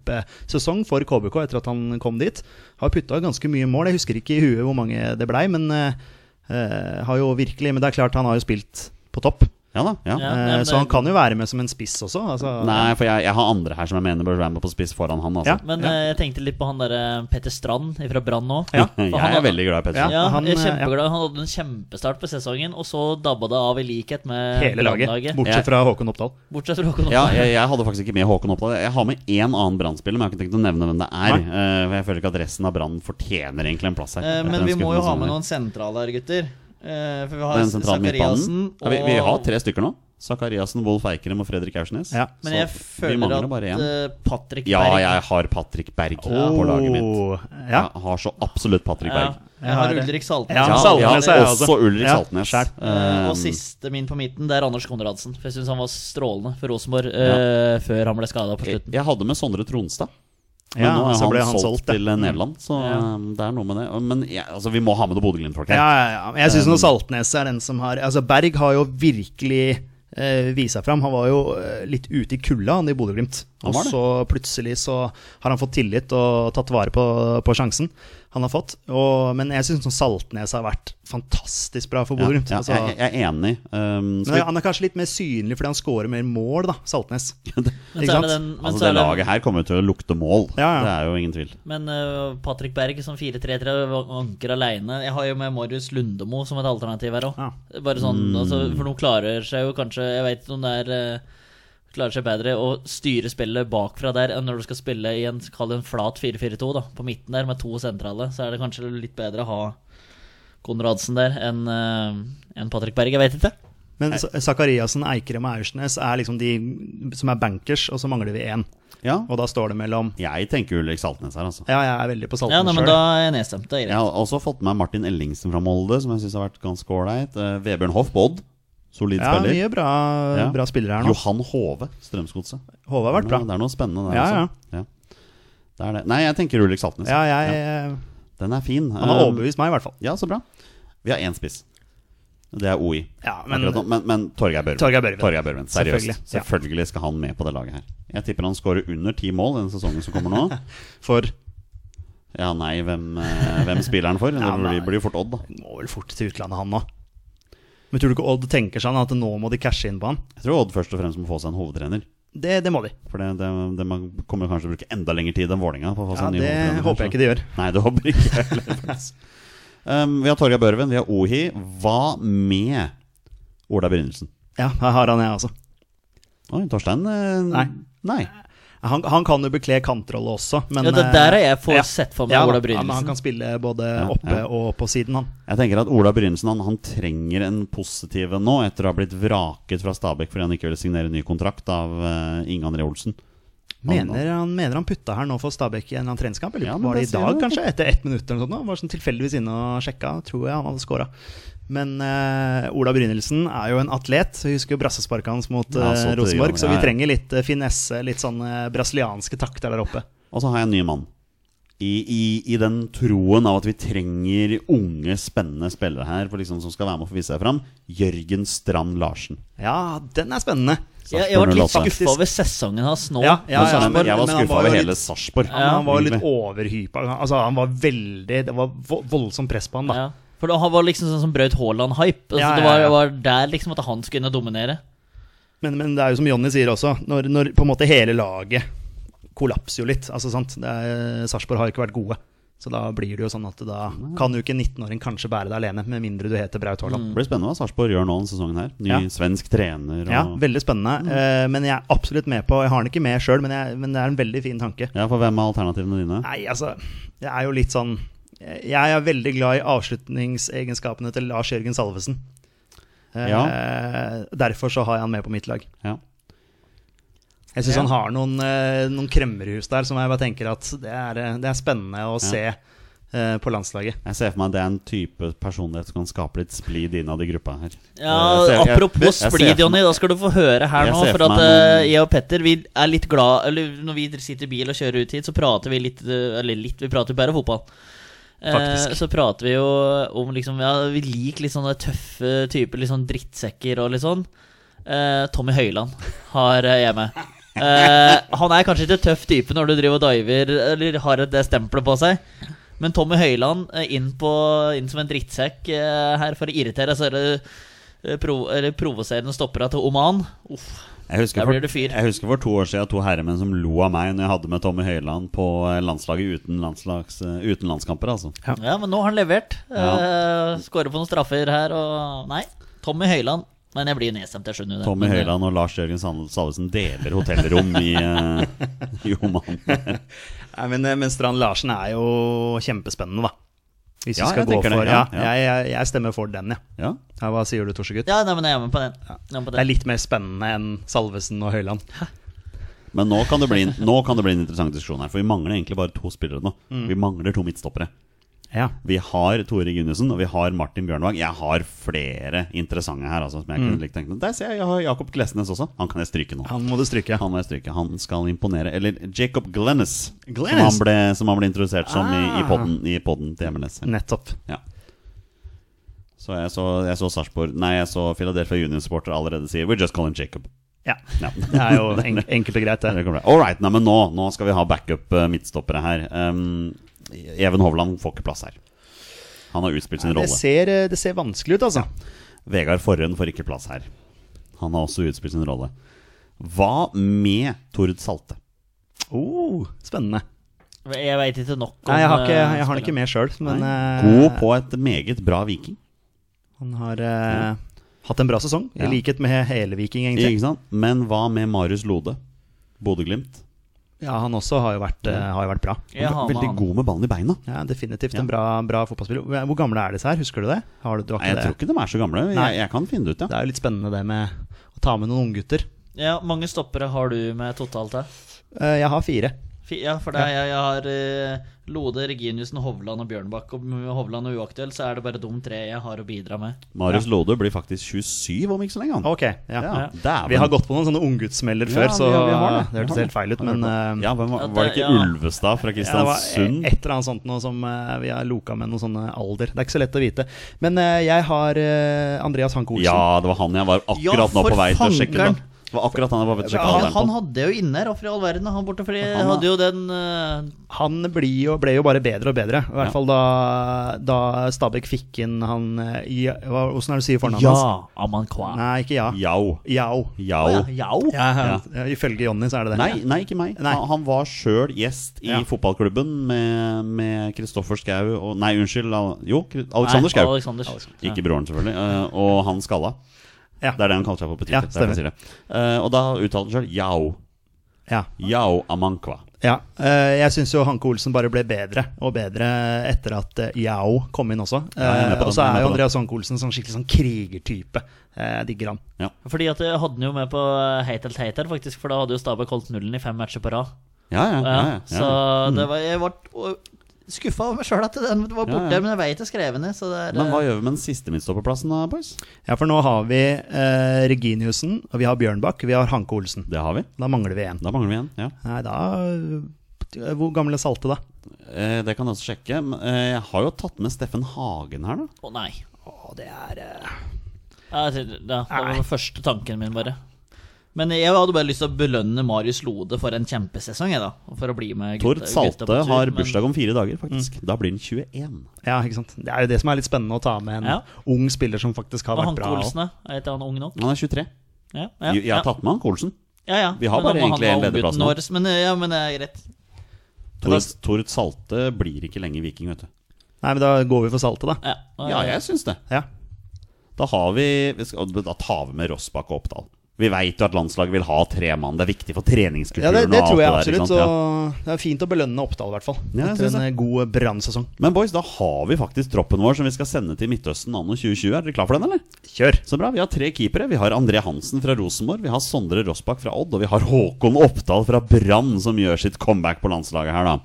Speaker 3: kjempesesong for KBK etter at han kom dit. Har putta ganske mye mål, jeg husker ikke i huet hvor mange det blei, men eh, eh, har jo virkelig Men det er klart, han har jo spilt på topp,
Speaker 1: Ja da. Ja.
Speaker 2: Ja.
Speaker 3: Eh,
Speaker 2: nei, men det-
Speaker 3: så han kan jo være med som en spiss også. Altså,
Speaker 1: Nei, for jeg, jeg har andre her som jeg mener bør være med på spiss foran han. Altså.
Speaker 3: Ja.
Speaker 2: Men eh, jeg tenkte litt på han derre Petter Strand fra Brann nå.
Speaker 3: Ja.
Speaker 2: For han
Speaker 1: Jeg
Speaker 2: har-
Speaker 1: er veldig glad i Pettersen.
Speaker 2: Ja,
Speaker 3: Ja, han,
Speaker 2: jeg er
Speaker 3: eh, ja.
Speaker 2: kjempeglad. Han hadde en kjempestart på sesongen, og så dabba det av i likhet med
Speaker 3: Hele laget,
Speaker 2: Brannlaget.
Speaker 1: Jeg-
Speaker 3: bortsett fra Håkon Oppdal.
Speaker 2: Bortsett fra Håkon
Speaker 1: Ja,
Speaker 2: Oppdal.
Speaker 1: jeg, jeg hadde faktisk ikke med Håkon Oppdal. Jeg har med én annen Brann-spiller, men jeg har ikke tenkt å nevne hvem det er. eh, for jeg føler ikke at resten av Brann fortjener egentlig en plass her.
Speaker 2: Eh,
Speaker 1: etter
Speaker 2: men
Speaker 1: den
Speaker 2: vi må jo
Speaker 1: skuffelsen
Speaker 2: ha
Speaker 1: her.
Speaker 2: med noen sentrale her, gutter. Eh, for
Speaker 1: Det
Speaker 2: vi
Speaker 1: er
Speaker 2: har
Speaker 1: en sentral
Speaker 2: Sakariassen
Speaker 1: midtbanen. Ja, vi, vi har tre stykker nå. Sakariassen, Wolf Eikrem og Fredrik Aursnes.
Speaker 3: Ja,
Speaker 1: Så
Speaker 2: Men jeg
Speaker 1: vi
Speaker 2: føler
Speaker 1: mangler
Speaker 2: at
Speaker 1: bare én.
Speaker 2: eh, Patrick
Speaker 1: Ja,
Speaker 2: Berg
Speaker 1: jeg har Patrick Berg på laget mitt.
Speaker 3: Åh, Oh, Ja.
Speaker 1: Jeg har så absolutt Patrick
Speaker 2: ja,
Speaker 1: Berg.
Speaker 2: Jeg har
Speaker 3: Jeg har-
Speaker 2: Ulrik Saltnes.
Speaker 3: Ja,
Speaker 1: Ja,
Speaker 3: Saltnes
Speaker 1: ja,
Speaker 3: er jeg
Speaker 1: også
Speaker 3: også.
Speaker 1: Ulrik
Speaker 3: Ja,
Speaker 1: Saltnes.
Speaker 3: skjær.
Speaker 2: Eh,
Speaker 1: Eh,
Speaker 2: og siste min på midten, det er Anders Konradsen. For jeg syns han var strålende for Rosenborg eh, før han ble skada på
Speaker 1: jeg,
Speaker 2: slutten.
Speaker 1: jeg hadde med Sondre Tronstad. Men
Speaker 3: Ja,
Speaker 1: nå er
Speaker 3: så
Speaker 1: han,
Speaker 3: ble han
Speaker 1: solgt,
Speaker 3: solgt, ja.
Speaker 1: til eh, Nederland, så eh, det er noe med det. Men jeg, altså, vi må ha med noe Bodø-Glimt-folk her.
Speaker 3: Ja, ja, ja. Men Jeg syns um, Saltnes er den som har Altså, Berg har jo virkelig eh, vist seg fram. Han var jo eh, litt ute i kulda, han i Bodø-Glimt.
Speaker 1: Han
Speaker 3: Og
Speaker 1: var det.
Speaker 3: så plutselig så har han fått tillit og tatt vare på, på sjansen han har fått. Og, men jeg syns Saltnes har vært fantastisk bra for
Speaker 1: Ja,
Speaker 3: Bodø Glimt.
Speaker 1: ja,
Speaker 3: altså.
Speaker 1: jeg, jeg er enig. Um,
Speaker 3: men
Speaker 1: skal vi,
Speaker 3: han er kanskje litt mer synlig fordi han scorer mer mål, da, Saltnes.
Speaker 2: Men
Speaker 3: Ikke
Speaker 2: så er det
Speaker 3: sant?
Speaker 2: den men
Speaker 1: altså,
Speaker 2: så
Speaker 1: det
Speaker 2: er det-
Speaker 1: laget her kommer til å lukte mål.
Speaker 3: Ja, ja.
Speaker 1: Det er jo ingen tvil.
Speaker 2: Men eh, Patrick Berg som 4-3-3 anker alene Jeg har jo med Marius Lundemo som et alternativ her òg.
Speaker 3: Ja.
Speaker 2: Bare sånn, altså, for noen klarer seg jo kanskje Jeg veit ikke om det er eh, Klarer seg bedre å styre spillet bakfra der enn når du skal spille i en, kall det en flat 4-4-2. da På midten der med to sentrale, så er det kanskje litt bedre å ha Konradsen der enn eh, enn Patrick Berg. Jeg veit ikke.
Speaker 3: Men Sa- Sakariassen, Eikrem og Aursnes er liksom de som er bankers, og så mangler vi én.
Speaker 1: Ja,
Speaker 3: Og da står det mellom
Speaker 1: jeg tenker Ulrik Saltnes her, altså.
Speaker 3: Ja, jeg er veldig på
Speaker 2: Ja,
Speaker 3: Saltnes
Speaker 2: nei,
Speaker 3: selv
Speaker 2: men da er jeg nedstemt. Det er
Speaker 1: Jeg
Speaker 2: greit.
Speaker 1: har også fått med Martin Ellingsen fra Molde, som jeg syns har vært ganske ålreit. Eh, Vebjørn Hoff Bodd, solid
Speaker 3: Ja,
Speaker 1: spiller.
Speaker 3: mye bra,
Speaker 1: Ja.
Speaker 3: bra spillere her nå.
Speaker 1: Johan Hove, Strømsgodset.
Speaker 3: Håvard har vært bra.
Speaker 1: Det er noe spennende der,
Speaker 3: Ja,
Speaker 1: altså. Ja. Det er det. Nei, jeg tenker Ulrik Saltnes.
Speaker 3: Ja, jeg, eh,
Speaker 1: Den er fin.
Speaker 3: Han har
Speaker 1: Eh,
Speaker 3: overbevist meg, i hvert fall.
Speaker 1: Ja, så bra. Vi har én spiss. Det er OI.
Speaker 3: Ja,
Speaker 1: Men,
Speaker 3: men
Speaker 1: men, men Torgeir Børven.
Speaker 3: Torgeir Børven.
Speaker 1: Seriøst. Selvfølgelig.
Speaker 3: Selvfølgelig, ja.
Speaker 1: skal han med på det laget her. Jeg tipper han skårer under ti mål denne sesongen som kommer nå.
Speaker 3: for
Speaker 1: Ja, nei, hvem, eh, hvem spiller han for? Det
Speaker 3: Ja,
Speaker 1: blir-
Speaker 3: nei.
Speaker 1: blir jo fort Odd, da.
Speaker 3: Han må vel fort til utlandet, han nå. Men tror du ikke Odd tenker seg at nå må de cashe inn på han?
Speaker 1: Jeg tror Odd først og fremst må få seg en hovedtrener.
Speaker 3: Det, det må de.
Speaker 1: For det, det, det man kommer kanskje til å bruke enda lengre tid enn Vålinga Altså, på å få seg
Speaker 3: Ja,
Speaker 1: en ny
Speaker 3: det
Speaker 1: hovedtrener.
Speaker 3: håper jeg ikke de gjør.
Speaker 1: Nei, det håper ikke jeg heller, faktisk. Um, vi har Torgeir Børven, vi har Ohi. Hva med Ola Brynildsen?
Speaker 3: Ja, her har han jeg, altså.
Speaker 1: Oi, Torstein eh,
Speaker 3: Nei.
Speaker 1: Nei.
Speaker 3: Han, han kan jo bekle kantrolle også, men
Speaker 2: ja, det
Speaker 3: eh,
Speaker 2: der har jeg fått
Speaker 3: ja.
Speaker 2: sett for meg
Speaker 3: ja,
Speaker 2: Ola
Speaker 3: da, ja, men han
Speaker 2: Brynildsen.
Speaker 3: kan spille både
Speaker 1: Ja,
Speaker 3: oppe
Speaker 1: ja.
Speaker 3: og på siden, han.
Speaker 1: Jeg tenker at Ola Brynildsen han, han trenger en positiv en nå, etter å ha blitt vraket fra Stabæk fordi han ikke ville signere ny kontrakt av uh, Inge André Olsen. Han-
Speaker 3: Mener han, mener han putta her nå for Stabæk i en eller annen treningskamp? Eller
Speaker 1: Ja, men
Speaker 3: var det
Speaker 1: det
Speaker 3: i
Speaker 1: sier
Speaker 3: dag,
Speaker 1: det.
Speaker 3: kanskje? Etter ett minutt eller noe sånt? nå. Var sånn tilfeldigvis inne og sjekka, tror jeg han hadde scora. Men eh, Ola Brynildsen er jo en atlet. Vi husker jo brassesparket hans mot
Speaker 1: Ja,
Speaker 3: eh,
Speaker 1: så til de
Speaker 3: Rosenborg,
Speaker 1: grader,
Speaker 3: så
Speaker 1: ja,
Speaker 3: vi
Speaker 1: ja.
Speaker 3: trenger litt eh, finesse, litt sånn eh, brasilianske takter der oppe.
Speaker 1: Og så har jeg en ny mann. I, i, I den troen av at vi trenger unge, spennende spillere her for liksom, som skal være med og få vise seg fram. Jørgen Strand Larsen.
Speaker 3: Ja, den er spennende.
Speaker 2: Jeg, jeg ble litt
Speaker 1: Sarpsborg 08.
Speaker 2: skuffa over sesongen hans nå.
Speaker 3: Ja, ja,
Speaker 1: Men så-
Speaker 3: ja,
Speaker 1: men jeg var
Speaker 3: men
Speaker 1: skuffa
Speaker 3: han var jo
Speaker 1: over
Speaker 3: litt-
Speaker 1: hele Sarpsborg.
Speaker 3: Han, han var jo litt
Speaker 1: egentlig.
Speaker 3: overhypa. Altså, han var veldig Det var vo- voldsomt press på han, da.
Speaker 2: Ja. For da- han var liksom sånn som brøt Haaland-hype. Altså,
Speaker 3: Ja,
Speaker 2: Det
Speaker 3: ja,
Speaker 2: var,
Speaker 3: ja.
Speaker 2: var der liksom at han skulle inn og dominere.
Speaker 3: Men, men det er jo som Jonny sier også, når, når på en måte hele laget kollapser jo litt. Altså sant, det er- Sarpsborg har ikke vært gode. Så da blir det jo sånn at da kan jo ikke en 19-åring kanskje bære deg alene, med mindre du heter Braut Haaland.
Speaker 1: Det blir spennende hva Sarpsborg gjør nå denne sesongen her. Ny
Speaker 3: Ja.
Speaker 1: svensk trener og
Speaker 3: Ja, veldig spennende. Eh, men jeg er absolutt med på Jeg har den ikke med sjøl, men, jeg- men det er en veldig fin tanke.
Speaker 1: Ja, for hvem er alternativene dine?
Speaker 3: Nei, altså, det er jo litt sånn Jeg er veldig glad i avslutningsegenskapene til Lars Jørgen Salvesen. Eh, Derfor så har jeg han med på mitt lag.
Speaker 1: Ja.
Speaker 3: Jeg syns
Speaker 2: Ja.
Speaker 3: han har noen, eh, noen kremmerhus der som jeg bare tenker at det er, eh, det er spennende å se eh, på landslaget.
Speaker 1: Jeg ser for meg at det er en type personlighet som kan skape litt splid innad i gruppa her. Jeg
Speaker 2: Ja,
Speaker 1: ser- jeg- jeg
Speaker 2: Apropos
Speaker 1: ser for-
Speaker 2: splid, Jonny, da skal du få høre her
Speaker 1: Jeg
Speaker 2: nå.
Speaker 1: ser
Speaker 2: For
Speaker 1: for
Speaker 2: at
Speaker 1: meg-
Speaker 2: eh, jeg og Petter vi er litt glad Eller når vi sitter i bil og kjører ut hit, så prater vi litt eh, Eller litt, vi prater bare fotball. Eh,
Speaker 3: Faktisk.
Speaker 2: så prater vi jo om liksom Ja, vi liker litt sånne tøffe typer, litt sånn drittsekker og litt sånn. Eh, Tommy Høiland har eh, jeg med. Eh, han er kanskje ikke tøff type når du driver og diver eller har et- det stempelet på seg. Men Tommy Høiland eh, inn, på, inn som en drittsekk eh, her for å irritere. Så er det eh, provo eller provoserende stoppere til Oman. Uff.
Speaker 1: Jeg husker,
Speaker 2: Der
Speaker 1: for,
Speaker 2: blir du fyr.
Speaker 1: jeg husker for to år siden to herremenn som lo av meg når jeg hadde med Tommy Høiland på eh, landslaget uten, landslags, eh, uten landskamper, altså.
Speaker 2: Ja, men nå har han levert. Eh, Skårer på noen straffer her og Nei, Tommy Høiland. Men jeg blir nedstemt, jeg skjønner jo det.
Speaker 1: Tommy
Speaker 2: Men, eh,
Speaker 1: Høiland og Lars Jørgen Sand- Salvesen deler hotellrom i, eh, i Oman.
Speaker 3: Nei, men, eh, men Strand Larsen er jo kjempespennende, da. Hvis
Speaker 1: Ja,
Speaker 3: vi skal
Speaker 1: jeg
Speaker 3: gå
Speaker 1: tenker
Speaker 3: for
Speaker 1: det,
Speaker 3: ja,
Speaker 1: ja, ja.
Speaker 3: Jeg, jeg, jeg stemmer for den, ja.
Speaker 1: Ja.
Speaker 3: ja hva sier du, Torsegutt?
Speaker 2: Ja, nei, men jeg er med på den. Jeg er med på
Speaker 3: Det er
Speaker 2: den.
Speaker 3: litt mer spennende enn Salvesen og Høyland.
Speaker 1: Men nå kan, det bli, nå kan det bli en interessant diskusjon her, for vi mangler egentlig bare to spillere nå.
Speaker 2: Mm.
Speaker 1: Vi mangler to midtstoppere.
Speaker 3: Ja.
Speaker 1: Vi har Tore Gundersen og vi har Martin Bjørnvag. Jeg har flere interessante her. Altså, som
Speaker 2: Mm.
Speaker 1: jeg kunne likt tenkt meg. Der ser jeg, jeg har Jakob Glesnes også. Han kan jeg stryke nå.
Speaker 3: Han må du stryke.
Speaker 1: Han må jeg stryke. Han skal imponere. Eller Jacob Glennes, Som,
Speaker 3: Glennes?
Speaker 1: han ble, som han ble introdusert som i, i,
Speaker 3: Ah.
Speaker 1: podden, i podden til MLS.
Speaker 3: Nettopp.
Speaker 1: Ja. Så jeg så, jeg så Sarpsborg Nei, jeg så Philadelphia Union-supporter allerede si We're just calling Jacob.
Speaker 3: Ja.
Speaker 1: Ja.
Speaker 3: Det er jo en, enkelt og greit,
Speaker 1: Det
Speaker 3: det.
Speaker 1: kommer til. All right, nei, men nå, nå skal vi ha backup eh, midtstoppere her. Um, Even Hovland får ikke plass her. Han har utspilt sin
Speaker 3: Det
Speaker 1: rolle.
Speaker 3: ser, eh, det ser vanskelig ut, altså.
Speaker 1: Vegard Forhund får ikke plass her. Han har også utspilt sin rolle. Hva med Tord Salte?
Speaker 3: Oh, spennende.
Speaker 2: Jeg veit ikke nok om
Speaker 3: Nei, jeg har, ikke,
Speaker 2: eh,
Speaker 3: jeg har den ikke
Speaker 2: spilleren.
Speaker 3: med sjøl, men eh,
Speaker 1: God på et meget bra Viking.
Speaker 3: han har eh, hatt en bra sesong,
Speaker 1: Ja.
Speaker 3: i likhet med hele Viking, egentlig.
Speaker 1: Ikke sant? Men hva med Marius Lode? Bodø-Glimt.
Speaker 3: Ja, han også har jo vært, eh, har jo vært bra.
Speaker 2: Jeg har med
Speaker 1: Veldig
Speaker 2: han.
Speaker 1: god med ballen i beina.
Speaker 3: Ja, Definitivt
Speaker 1: Ja.
Speaker 3: en bra, bra fotballspiller. Hvor- Hvor gamle er disse her, husker du det? Har du, du har
Speaker 1: Nei,
Speaker 3: ikke
Speaker 1: jeg
Speaker 3: det?
Speaker 1: tror ikke de er så gamle.
Speaker 3: Nei.
Speaker 1: Jeg, jeg kan finne det ut,
Speaker 3: Det
Speaker 1: ja.
Speaker 3: er jo litt spennende det med å ta med noen unggutter.
Speaker 2: Ja, mange stoppere har du med totalt her?
Speaker 3: Uh, jeg har fire.
Speaker 2: Fi- Ja, for det er, jeg, jeg har eh, Lode, Reginiussen, Hovland og Bjørnbakk. Og med Hovland er uaktuell, så er det bare de tre jeg har å bidra med.
Speaker 1: Marius Lode blir faktisk 27 om ikke så lenge. han.
Speaker 3: Ok, ja.
Speaker 1: Ja,
Speaker 3: Vi
Speaker 1: dæven.
Speaker 3: har gått på noen sånne ungguttsmeller før,
Speaker 1: Ja,
Speaker 3: så
Speaker 1: vi har- vi har
Speaker 3: det
Speaker 1: Vi
Speaker 3: hørtes
Speaker 1: har
Speaker 3: helt feil ut,
Speaker 1: Har
Speaker 3: men
Speaker 1: hørt det.
Speaker 3: eh,
Speaker 1: Ja, hvem var,
Speaker 2: at
Speaker 1: var det
Speaker 2: det-
Speaker 1: ikke
Speaker 2: ja.
Speaker 1: Ulvestad fra
Speaker 3: Ja, det var
Speaker 1: Kristiansund?
Speaker 3: et eller annet sånt noe som eh, vi har loka med noe sånne alder. Det er ikke så lett å vite. Men eh, jeg har eh, Andreas Hanke Olsen.
Speaker 1: Ja, det var han jeg var akkurat
Speaker 2: Ja,
Speaker 1: nå på
Speaker 2: for
Speaker 1: vei til å sjekke
Speaker 2: fangeren.
Speaker 1: ut. Det var akkurat han jeg var på vei til å sjekke
Speaker 2: Han,
Speaker 1: alderen
Speaker 2: han
Speaker 1: på.
Speaker 2: hadde jo inne her, hvorfor i all verden? er Han borte fordi
Speaker 1: Han er-
Speaker 2: hadde jo den eh,
Speaker 3: Han blir jo, ble jo bare bedre og bedre. I hvert
Speaker 1: Ja.
Speaker 3: fall da, da Stabæk fikk inn han eh, ja, hva- Hvordan er det du sier fornavnet hans?
Speaker 2: Ja, Amankwa.
Speaker 3: Nei, ikke ja.
Speaker 1: Yao.
Speaker 3: Yao.
Speaker 1: Yao.
Speaker 2: Jau.
Speaker 3: Ja, ja. Ifølge Jonny så er det det.
Speaker 1: Nei, nei, ikke meg.
Speaker 3: Nei.
Speaker 1: Han, han var sjøl gjest i
Speaker 3: Ja.
Speaker 1: fotballklubben med, med Kristoffer Schau og Nei, unnskyld. al- Jo, Kri- Alexander Schau.
Speaker 2: Alexander. Ja.
Speaker 1: Ikke broren, selvfølgelig. eh, og han skalla.
Speaker 3: Ja.
Speaker 1: Det er det han kaller seg på på
Speaker 3: Ja,
Speaker 1: Twitter. derfor jeg sier det. Eh, og da uttalte han sjøl Yao.
Speaker 3: Ja.
Speaker 1: Yao Amankwa.
Speaker 3: Ja, eh, jeg syns jo Hanke Olsen bare ble bedre og bedre etter at eh, Yao kom inn også.
Speaker 1: Ja, jeg er med på
Speaker 3: Eh, og så
Speaker 1: den, jeg er med på
Speaker 3: er jo Andreas Hanke Olsen sånn skikkelig sånn krigertype. Eh, Jeg digger han.
Speaker 2: Fordi at jeg hadde den jo med på eh, Heitelt Heiter, faktisk. For da hadde jo Stabæk holdt nullen i fem matcher på rad.
Speaker 1: Ja, ja, ja, ja, Mm. ja.
Speaker 2: Så det var, jeg ble skuffa over meg sjøl at den var borte,
Speaker 1: Ja, ja.
Speaker 2: men jeg veit jeg skrev den ned. Så det er
Speaker 1: Men hva gjør vi med den siste midtstopperplassen, da, boys?
Speaker 3: Ja, for nå har vi eh, Reginiussen, og vi har Bjørnbakk, vi har Hanke Olsen.
Speaker 1: Det har vi.
Speaker 3: Da mangler vi én.
Speaker 1: Da mangler vi en. Ja.
Speaker 3: Nei, da eh, Hvor gammel er Salte, da?
Speaker 1: Eh, det kan jeg også sjekke. Men, eh, jeg har jo tatt med Steffen Hagen her, da.
Speaker 2: eh, Å nei.
Speaker 3: Å, det er eh,
Speaker 2: Ja, jeg tenkte- ja, det var
Speaker 3: Nei.
Speaker 2: den første tanken min, bare. Men jeg hadde bare lyst til å belønne Marius Lode for en kjempesesong. Jeg, da, for å bli med
Speaker 1: Tord
Speaker 2: gutta- gutta på
Speaker 1: Salte
Speaker 2: tur,
Speaker 1: har
Speaker 2: men- Mm.
Speaker 1: bursdag om fire dager, faktisk. Da blir han 21.
Speaker 3: Ja, ikke sant. Det er jo det som er litt spennende å ta med en
Speaker 2: Ja.
Speaker 3: ung spiller som faktisk har
Speaker 2: Og
Speaker 3: vært
Speaker 2: Hanke
Speaker 3: bra. også.
Speaker 2: Olsen, da? Er ikke han ung nok?
Speaker 1: Han er 23.
Speaker 2: Ja, ja,
Speaker 1: Jeg jeg
Speaker 2: ja.
Speaker 1: har tatt med han Kolsen.
Speaker 2: Ja, ja.
Speaker 1: Vi har
Speaker 2: Men da
Speaker 1: bare
Speaker 2: må han
Speaker 1: egentlig
Speaker 2: ha
Speaker 1: en
Speaker 2: ombytten
Speaker 1: lederplass nå.
Speaker 2: vår, Men, ja, men det er greit.
Speaker 1: Tord, Tord Salte blir ikke lenger viking, vet du.
Speaker 3: Nei, men da går vi for Salte, da.
Speaker 2: Ja, da-
Speaker 1: Ja, jeg syns det.
Speaker 3: Ja.
Speaker 1: Da, har vi, vi skal, da tar vi med Rossbakk og Oppdal. Vi veit jo at landslaget vil ha tre mann. Det er viktig for treningskulturen.
Speaker 3: Ja, det, det
Speaker 1: og alt
Speaker 3: tror jeg
Speaker 1: der, ikke
Speaker 3: absolutt.
Speaker 1: sant?
Speaker 3: Så
Speaker 1: Ja.
Speaker 3: det er fint å belønne Oppdal, i hvert fall.
Speaker 1: Ja, jeg
Speaker 3: Etter
Speaker 1: synes
Speaker 3: en eh, god brannsesong.
Speaker 1: Men boys, da har vi faktisk troppen vår som vi skal sende til Midtøsten anno 2020. Er dere klar for den, eller?
Speaker 3: Kjør!
Speaker 1: Så bra. Vi har tre keepere. Vi har André Hansen fra Rosenborg, vi har Sondre Rossbakk fra Odd, og vi har Håkon Oppdal fra Brann som gjør sitt comeback på landslaget her, da.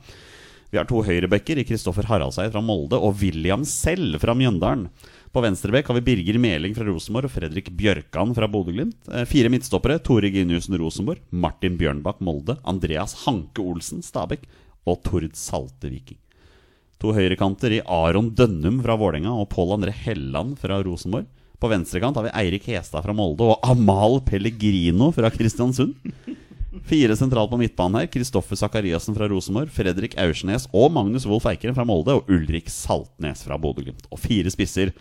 Speaker 1: Vi har to høyrebacker i Kristoffer Haraldseid fra Molde og William selv fra Mjøndalen. På venstrebekk har vi Birger Meling fra Rosenborg og Fredrik Bjørkan fra Bodø-Glimt. Eh, Fire midtstoppere. Tore Giniussen Rosenborg, Martin Bjørnbakk Molde, Andreas Hanke Olsen Stabæk og Tord Salte Viking. To høyrekanter i Aron Dønnum fra Vålerenga og Pål André Helland fra Rosenborg. På venstrekant har vi Eirik Hestad fra Molde og Amal Pellegrino fra Kristiansund. Fire sentralt på midtbanen her. Kristoffer Sakariassen fra Rosenborg, Fredrik Aursnes og Magnus Wolff Eikeren fra Molde og Ulrik Saltnes fra Bodø-Glimt. Og fire spisser.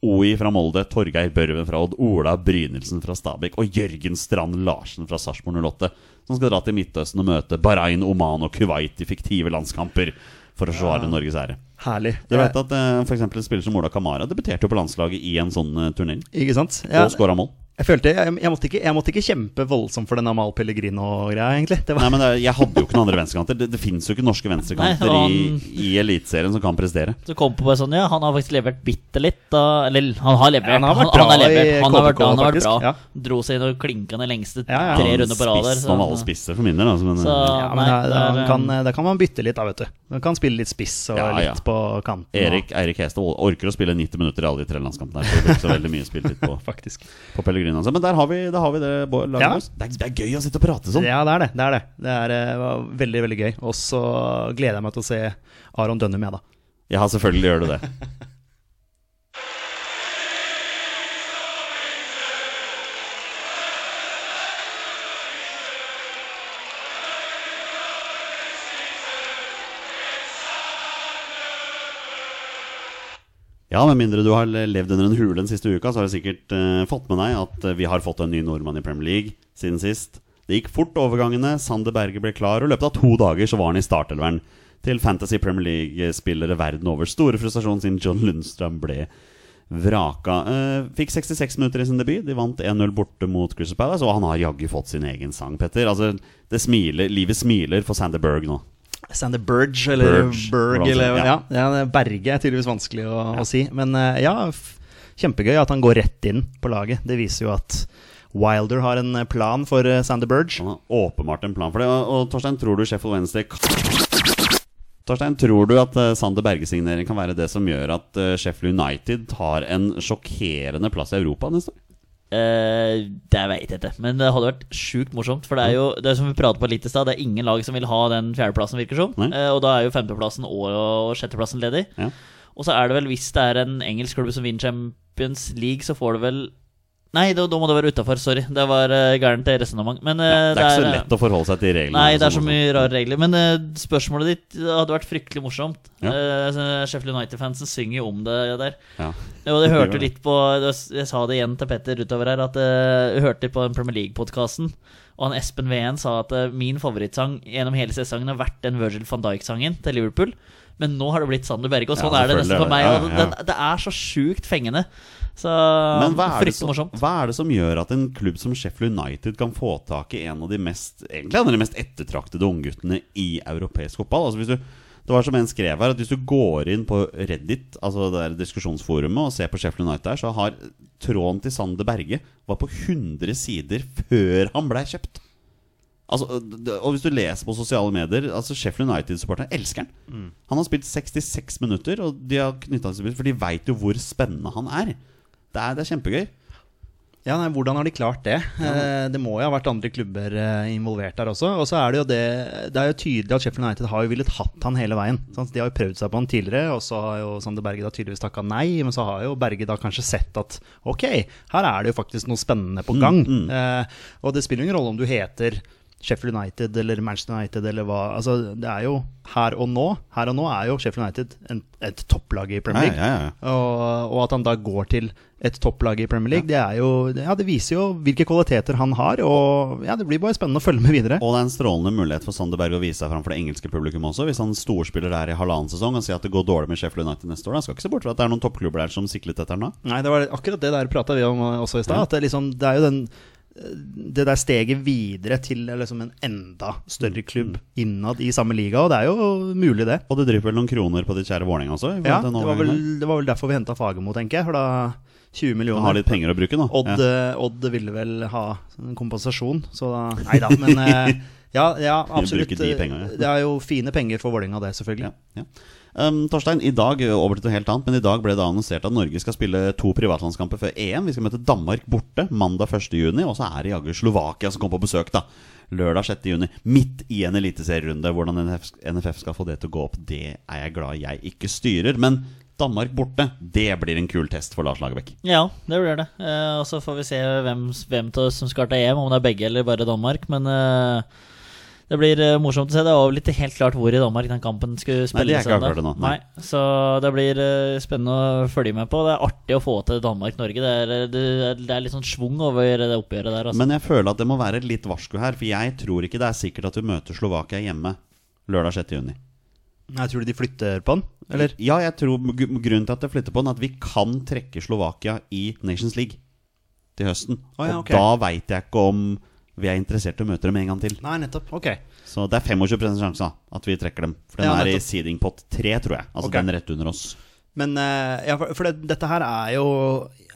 Speaker 1: OI fra Molde, Torgeir Børven fra Odd, Ola Brynildsen fra Stabæk og Jørgen Strand Larsen fra Sarpsborg 08, som skal dra til Midtøsten og møte Bahrain, Oman og Kuwait i fiktive landskamper for å forsvare Norges ære.
Speaker 3: Herlig.
Speaker 1: Du vet at eh, for eksempel en spiller som Ola Kamara debuterte jo på landslaget i en sånn eh, turnering.
Speaker 3: Ikke sant? Ja,
Speaker 1: Og skåra mål.
Speaker 3: jeg følte jeg, jeg, måtte ikke, jeg måtte ikke kjempe voldsomt for den Amal Pellegrino-greia, egentlig. Det
Speaker 1: Nei,
Speaker 3: var,
Speaker 1: men det, er- Jeg hadde jo ikke noen andre venstrekanter. Det, det fins jo ikke norske venstrekanter
Speaker 2: Nei,
Speaker 1: i, i Eliteserien som kan prestere.
Speaker 2: Så kom på meg sånn, ja, han har faktisk levert bitte litt. Da, eller han har levert.
Speaker 3: Ja, han har vært
Speaker 2: han,
Speaker 3: bra
Speaker 2: har levert.
Speaker 3: i
Speaker 2: Han har vært,
Speaker 3: KBK,
Speaker 2: han har vært bra.
Speaker 3: faktisk, ja.
Speaker 2: Dro seg inn og klinka ned lengste
Speaker 3: Ja, ja.
Speaker 2: tre
Speaker 1: Han
Speaker 2: runder på rad der.
Speaker 1: Spissen av alle spisser for min del. Altså, men,
Speaker 2: Så-
Speaker 3: ja, men
Speaker 2: nei,
Speaker 3: da, da,
Speaker 2: det er, eh,
Speaker 3: kan, da kan man bytte litt, da, vet du. Man kan spille litt spiss
Speaker 1: eh,
Speaker 3: og
Speaker 1: Ja, ja.
Speaker 3: litt på kanten. og-
Speaker 1: eh, Erik, Erik Hestad orker å spille 90 minutter i alle de tre landskampene. her, så det blir ikke så veldig mye spiltid på,
Speaker 3: Faktisk.
Speaker 1: på Pellegrino. altså. Men der har vi, der har vi det. Bård Lagerbos.
Speaker 3: Ja.
Speaker 1: Det, er, det er gøy å sitte og prate sånn.
Speaker 3: Ja, det er det. Det er det. Det er, eh, var veldig, veldig gøy. Og så gleder jeg meg til å se Aron Dønnum, jeg, da.
Speaker 1: Ja, selvfølgelig gjør du det. Ja, Med mindre du har levd under en hule den siste uka, så har du sikkert eh, fått med deg at eh, vi har fått en ny nordmann i Premier League siden sist. Det gikk fort overgangene, Sander Berge ble klar, og i løpet av to dager så var han i startelveren til Fantasy Premier League-spillere verden over. Store frustrasjon siden John Lundstrøm ble vraka. Eh, fikk 66 minutter i sin debut. De vant 1-0 borte mot Crystal Palace, og han har jaggu fått sin egen sang, Petter. Altså, det smiler, Livet smiler for Sander Berg nå.
Speaker 3: Sander Burge, eller
Speaker 1: Burge,
Speaker 3: Berg,
Speaker 1: hvordan-
Speaker 3: eller ja.
Speaker 1: ja.
Speaker 3: Ja, det- Berge er tydeligvis vanskelig å, å si. Men eh, ja, f kjempegøy at han går rett inn på laget. Det viser jo at Wilder har en eh, plan for eh, Sander Burge.
Speaker 1: Han har åpenbart en plan for det. Og, og Torstein, tror du Sheffield Wednesday Torstein, tror du at eh, Sander Berge-signering kan være det som gjør at eh, Sheffield United tar en sjokkerende plass i Europa neste år?
Speaker 2: Eh, det veit jeg ikke, men det hadde vært sjukt morsomt. For det er jo
Speaker 3: Mm.
Speaker 2: det er som vi pratet på litt i stad, det er ingen lag som vil ha den fjerdeplassen, virker som.
Speaker 1: Nei.
Speaker 2: Eh, og da er jo femteplassen og, og sjetteplassen ledig.
Speaker 1: Ja.
Speaker 2: Og så er det vel, hvis det er en engelsk klubb som vinner Champions League, så får du vel Nei, da, da må det være utafor. Sorry. Det var uh, gærent resonnement. Men eh,
Speaker 1: Ja, det er ikke så
Speaker 2: eh,
Speaker 1: lett å forholde seg til reglene.
Speaker 2: Nei, det er
Speaker 1: og
Speaker 2: så
Speaker 1: sånn.
Speaker 2: mye rare regler. Men eh, spørsmålet ditt eh, hadde vært fryktelig morsomt.
Speaker 1: Ja.
Speaker 2: Eh, så Sheffield United-fansen synger jo om det der.
Speaker 1: Ja.
Speaker 2: Og jeg
Speaker 1: Det gjør
Speaker 2: hørte
Speaker 1: det.
Speaker 2: litt på Jeg sa det igjen til Petter utover her, at eh, jeg hørte litt på den Premier League-podkasten. Og han Espen Veen sa at eh, min favorittsang gjennom hele sesongen har vært den Virgil van Dijk-sangen til Liverpool. Men nå har det blitt Sander Berge, og
Speaker 1: Ja,
Speaker 2: sånn er det
Speaker 1: selvfølgelig
Speaker 2: nesten
Speaker 1: er
Speaker 2: for
Speaker 1: det. Ja,
Speaker 2: meg. og
Speaker 1: ja.
Speaker 2: Den, det er så sjukt fengende. Så
Speaker 1: Men hva er, det
Speaker 2: fryktelig
Speaker 1: som,
Speaker 2: morsomt.
Speaker 1: hva er det som gjør at en klubb som Sheffield United kan få tak i en av de mest, egentlig en av de mest ettertraktede ungguttene i europeisk fotball? Altså hvis du, det var som en skrev her, at hvis du går inn på Reddit, altså det der diskusjonsforumet, og ser på Sheffield United her, så har tråden til Sander Berge var på 100 sider før han blei kjøpt. Altså, d- og hvis du leser på sosiale medier Altså Sheffield United-supporteren elsker han. Han har spilt 66 minutter, og de har knytta seg til For de veit jo hvor spennende han er. Det er, det er kjempegøy.
Speaker 3: Ja, nei, Hvordan har de klart det? Eh, Det må jo ha vært andre klubber eh, involvert der også. Og så er det jo det Det er jo tydelig at Sheffield United har jo villet hatt han hele veien. Sant? De har jo prøvd seg på han tidligere, og så har jo Sander Berge da tydeligvis takka nei. Men så har jo Berge da kanskje sett at ok, her er det jo faktisk noe spennende
Speaker 1: Mm,
Speaker 3: på gang. Eh, og det spiller jo ingen rolle om du heter Sheffield United eller Manchester United eller hva Altså, det er jo her og nå. Her og nå er jo Sheffield United en, et topplag i Premier League.
Speaker 1: Ja, ja, ja.
Speaker 3: Og, og at han da går til et topplag i Premier League, det er jo det- Ja, det viser jo hvilke kvaliteter han har, og ja, det blir bare spennende å følge med videre.
Speaker 1: Og det er en strålende mulighet for Sander Berg å vise seg fram for det engelske publikum også. Hvis han storspiller der i halvannen sesong og sier at det går dårlig med Sheffield United neste år. Da skal ikke se bort fra at det er noen toppklubber der som siklet etter ham da.
Speaker 3: Nei, det var akkurat det der prata vi om eh, også i stad. At det, liksom, det er jo den eh, det der steget videre til eh, liksom en enda større klubb innad i samme liga, og det er jo mulig, det.
Speaker 1: Og det drypper vel noen kroner på de kjære Vålerenga også? i forhold
Speaker 3: Ja,
Speaker 1: til
Speaker 3: det
Speaker 1: den
Speaker 3: var
Speaker 1: overgangen
Speaker 3: vel, det var vel derfor vi henta Fagermo, tenker jeg. For da 20
Speaker 1: der. Han har
Speaker 3: millioner
Speaker 1: litt penger å bruke nå.
Speaker 3: Odd,
Speaker 1: Ja.
Speaker 3: eh, Odd ville vel ha en kompensasjon, så da Nei da, men eh, ja, ja, absolutt.
Speaker 1: Bruke de
Speaker 3: eh,
Speaker 1: pengene, ja.
Speaker 3: Det er jo fine penger for Vålerenga, det, selvfølgelig.
Speaker 1: Ja, ja. Um, Torstein, i dag ø, over til noe helt annet, men i dag ble det annonsert at Norge skal spille to privatlandskamper før EM. Vi skal møte Danmark borte mandag 1.6, og så er det jaggu Slovakia som kommer på besøk da lørdag 6.6. Midt i en eliteserierunde. Hvordan NFF, NFF skal få det til å gå opp, det er jeg glad jeg ikke styrer. Men Danmark borte, det blir en kul test for Lars Lagerbäck.
Speaker 2: Ja, det blir det. Eh, og så får vi se hvem, hvem til oss som skal til EM, om det er begge eller bare Danmark. Men eh, det blir eh, morsomt å se. Det var vel ikke helt klart hvor i Danmark den kampen skulle
Speaker 1: Nei, det er
Speaker 2: spilles.
Speaker 1: ikke
Speaker 2: ennå.
Speaker 1: avklart ennå, nei.
Speaker 2: Nei, Så det blir eh, spennende å følge med på. Det er artig å få til Danmark-Norge. Det, er, eh, det, er- det er litt sånn schwung over det oppgjøret der. Altså.
Speaker 1: Men jeg føler at det må være litt varsko her, for jeg tror ikke det er sikkert at du møter Slovakia hjemme lørdag 6.6.
Speaker 3: Nei, tror du de flytter på den, eller?
Speaker 1: Ja, jeg tror gr- grunnen til at det flytter på den, er at vi kan trekke Slovakia i Nations League til høsten.
Speaker 3: Å ja,
Speaker 1: Og
Speaker 3: ok.
Speaker 1: da veit jeg ikke om vi er interessert i å møte dem en gang til.
Speaker 3: Nei, nettopp. Ok.
Speaker 1: Så det er 25 sjanse da, at vi trekker dem. For den
Speaker 3: Ja,
Speaker 1: er i
Speaker 3: nettopp.
Speaker 1: seeding pot 3, tror jeg. Altså
Speaker 3: Ok.
Speaker 1: den rett under oss.
Speaker 3: Men eh, ja, for, for det, dette her er jo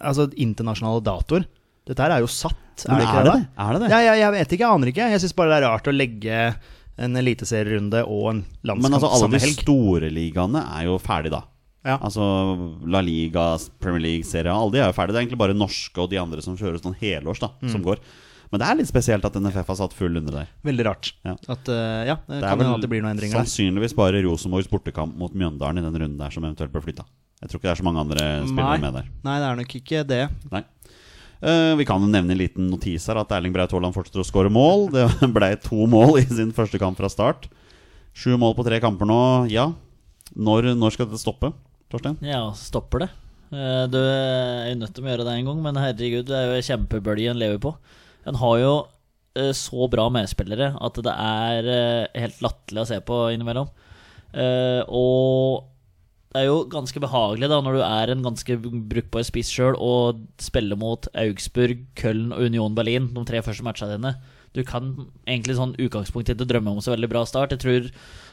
Speaker 3: altså, internasjonale datoer. Dette her er jo satt, er
Speaker 1: Men
Speaker 3: det ikke
Speaker 1: er
Speaker 3: det?
Speaker 1: det det? Er det det?
Speaker 3: Ja, ja, jeg vet ikke, jeg aner ikke. Jeg syns bare det er rart å legge en eliteserierunde og en
Speaker 1: Men
Speaker 3: landskamp
Speaker 1: altså, alle
Speaker 3: samme
Speaker 1: de
Speaker 3: helg.
Speaker 1: store ligaene er jo ferdig da.
Speaker 3: Ja.
Speaker 1: Altså La Liga, Premier League, Serie A, alle de er jo ferdig. Det er egentlig bare norske og de andre som kjøres sånn helårs, da,
Speaker 3: Mm.
Speaker 1: som går. Men det er litt spesielt at NFF har satt full runde der.
Speaker 3: Veldig rart.
Speaker 1: Ja.
Speaker 3: At, eh, ja, det
Speaker 1: Det er
Speaker 3: kan hende
Speaker 1: vel sånn
Speaker 3: at det blir noen endringer. der.
Speaker 1: sannsynligvis bare Rosenborgs bortekamp mot Mjøndalen i den runden der som eventuelt ble flytta. Jeg tror ikke det er så mange andre spillere
Speaker 3: Nei.
Speaker 1: med der.
Speaker 3: Nei, det er nok ikke det.
Speaker 1: Nei. Eh, vi kan jo nevne en liten notis her at Erling Braut Haaland fortsetter å skåre mål. Det ble to mål i sin første kamp fra start. Sju mål på tre kamper nå. Ja, når, når skal dette stoppe, Torstein?
Speaker 2: Ja, stopper det. Eh, Du er jo nødt til å gjøre det en gang, men herregud, det er jo kjempebølgen lever på. En har jo eh, så bra medspillere at det er eh, helt latterlig å se på innimellom. Eh, Og det er jo ganske behagelig da når du er en ganske brukbar spiss sjøl og spiller mot Augsburg, Köln og Union Berlin, de tre første matchene dine. Du kan egentlig sånn utgangspunktet ikke drømme om så veldig bra start. Jeg tror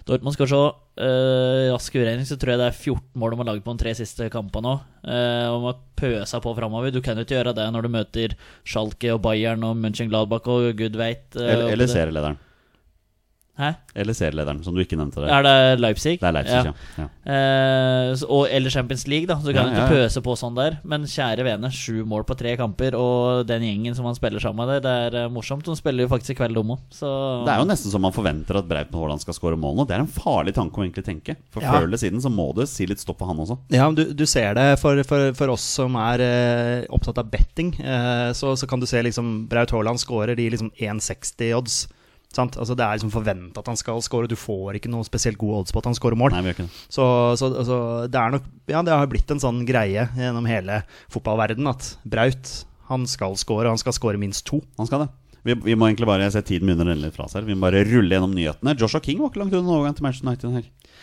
Speaker 2: Dortmund skal se eh, rask uregning, så tror jeg det er 14 mål de har lagd på de tre siste kampene nå. Eh, og de har pøsa på framover. Du kan jo ikke gjøre det når du møter Schalke og Bayern og Mönchengladbach og gud veit. eh,
Speaker 1: Eller, eller
Speaker 2: oppe der.
Speaker 1: serielederen.
Speaker 2: Hæ?
Speaker 1: Eller serielederen, som du ikke nevnte der.
Speaker 2: Er det Leipzig?
Speaker 1: Det er Leipzig,
Speaker 2: Ja.
Speaker 1: ja. ja.
Speaker 2: Eh, så- og, eller Champions League, da. Så
Speaker 1: Ja,
Speaker 2: kan du
Speaker 1: ja,
Speaker 2: ikke
Speaker 1: ja.
Speaker 2: pøse på sånn der. Men kjære vene, sju mål på tre kamper, og den gjengen som han spiller sammen med der, det er eh, morsomt. De spiller jo faktisk i kveld, de òg, så
Speaker 1: Det er jo nesten som man forventer at Brauten Haaland skal skåre mål nå. Det er en farlig tanke å egentlig tenke. For
Speaker 3: Ja.
Speaker 1: før eller siden så må du si litt stopp på han også.
Speaker 3: Ja, men du, du ser det for, for, for oss som er eh, opptatt av betting. eh, så, så kan du se liksom Braut Haaland scorer de liksom 1,60 odds. Sant? Altså, det er liksom forventa at han skal score. Du får ikke noe spesielt gode odds på at han scorer mål.
Speaker 1: Nei, vi gjør ikke det.
Speaker 3: Så, så altså, det er nok Ja, det har blitt en sånn greie gjennom hele fotballverdenen at Braut han skal score, og han skal score minst to.
Speaker 1: Han skal det. Vi, vi må egentlig bare se tiden begynner å renne litt fra oss her. Vi må bare rulle gjennom nyhetene. Joshua King var ikke langt unna overgang til Manchester United her.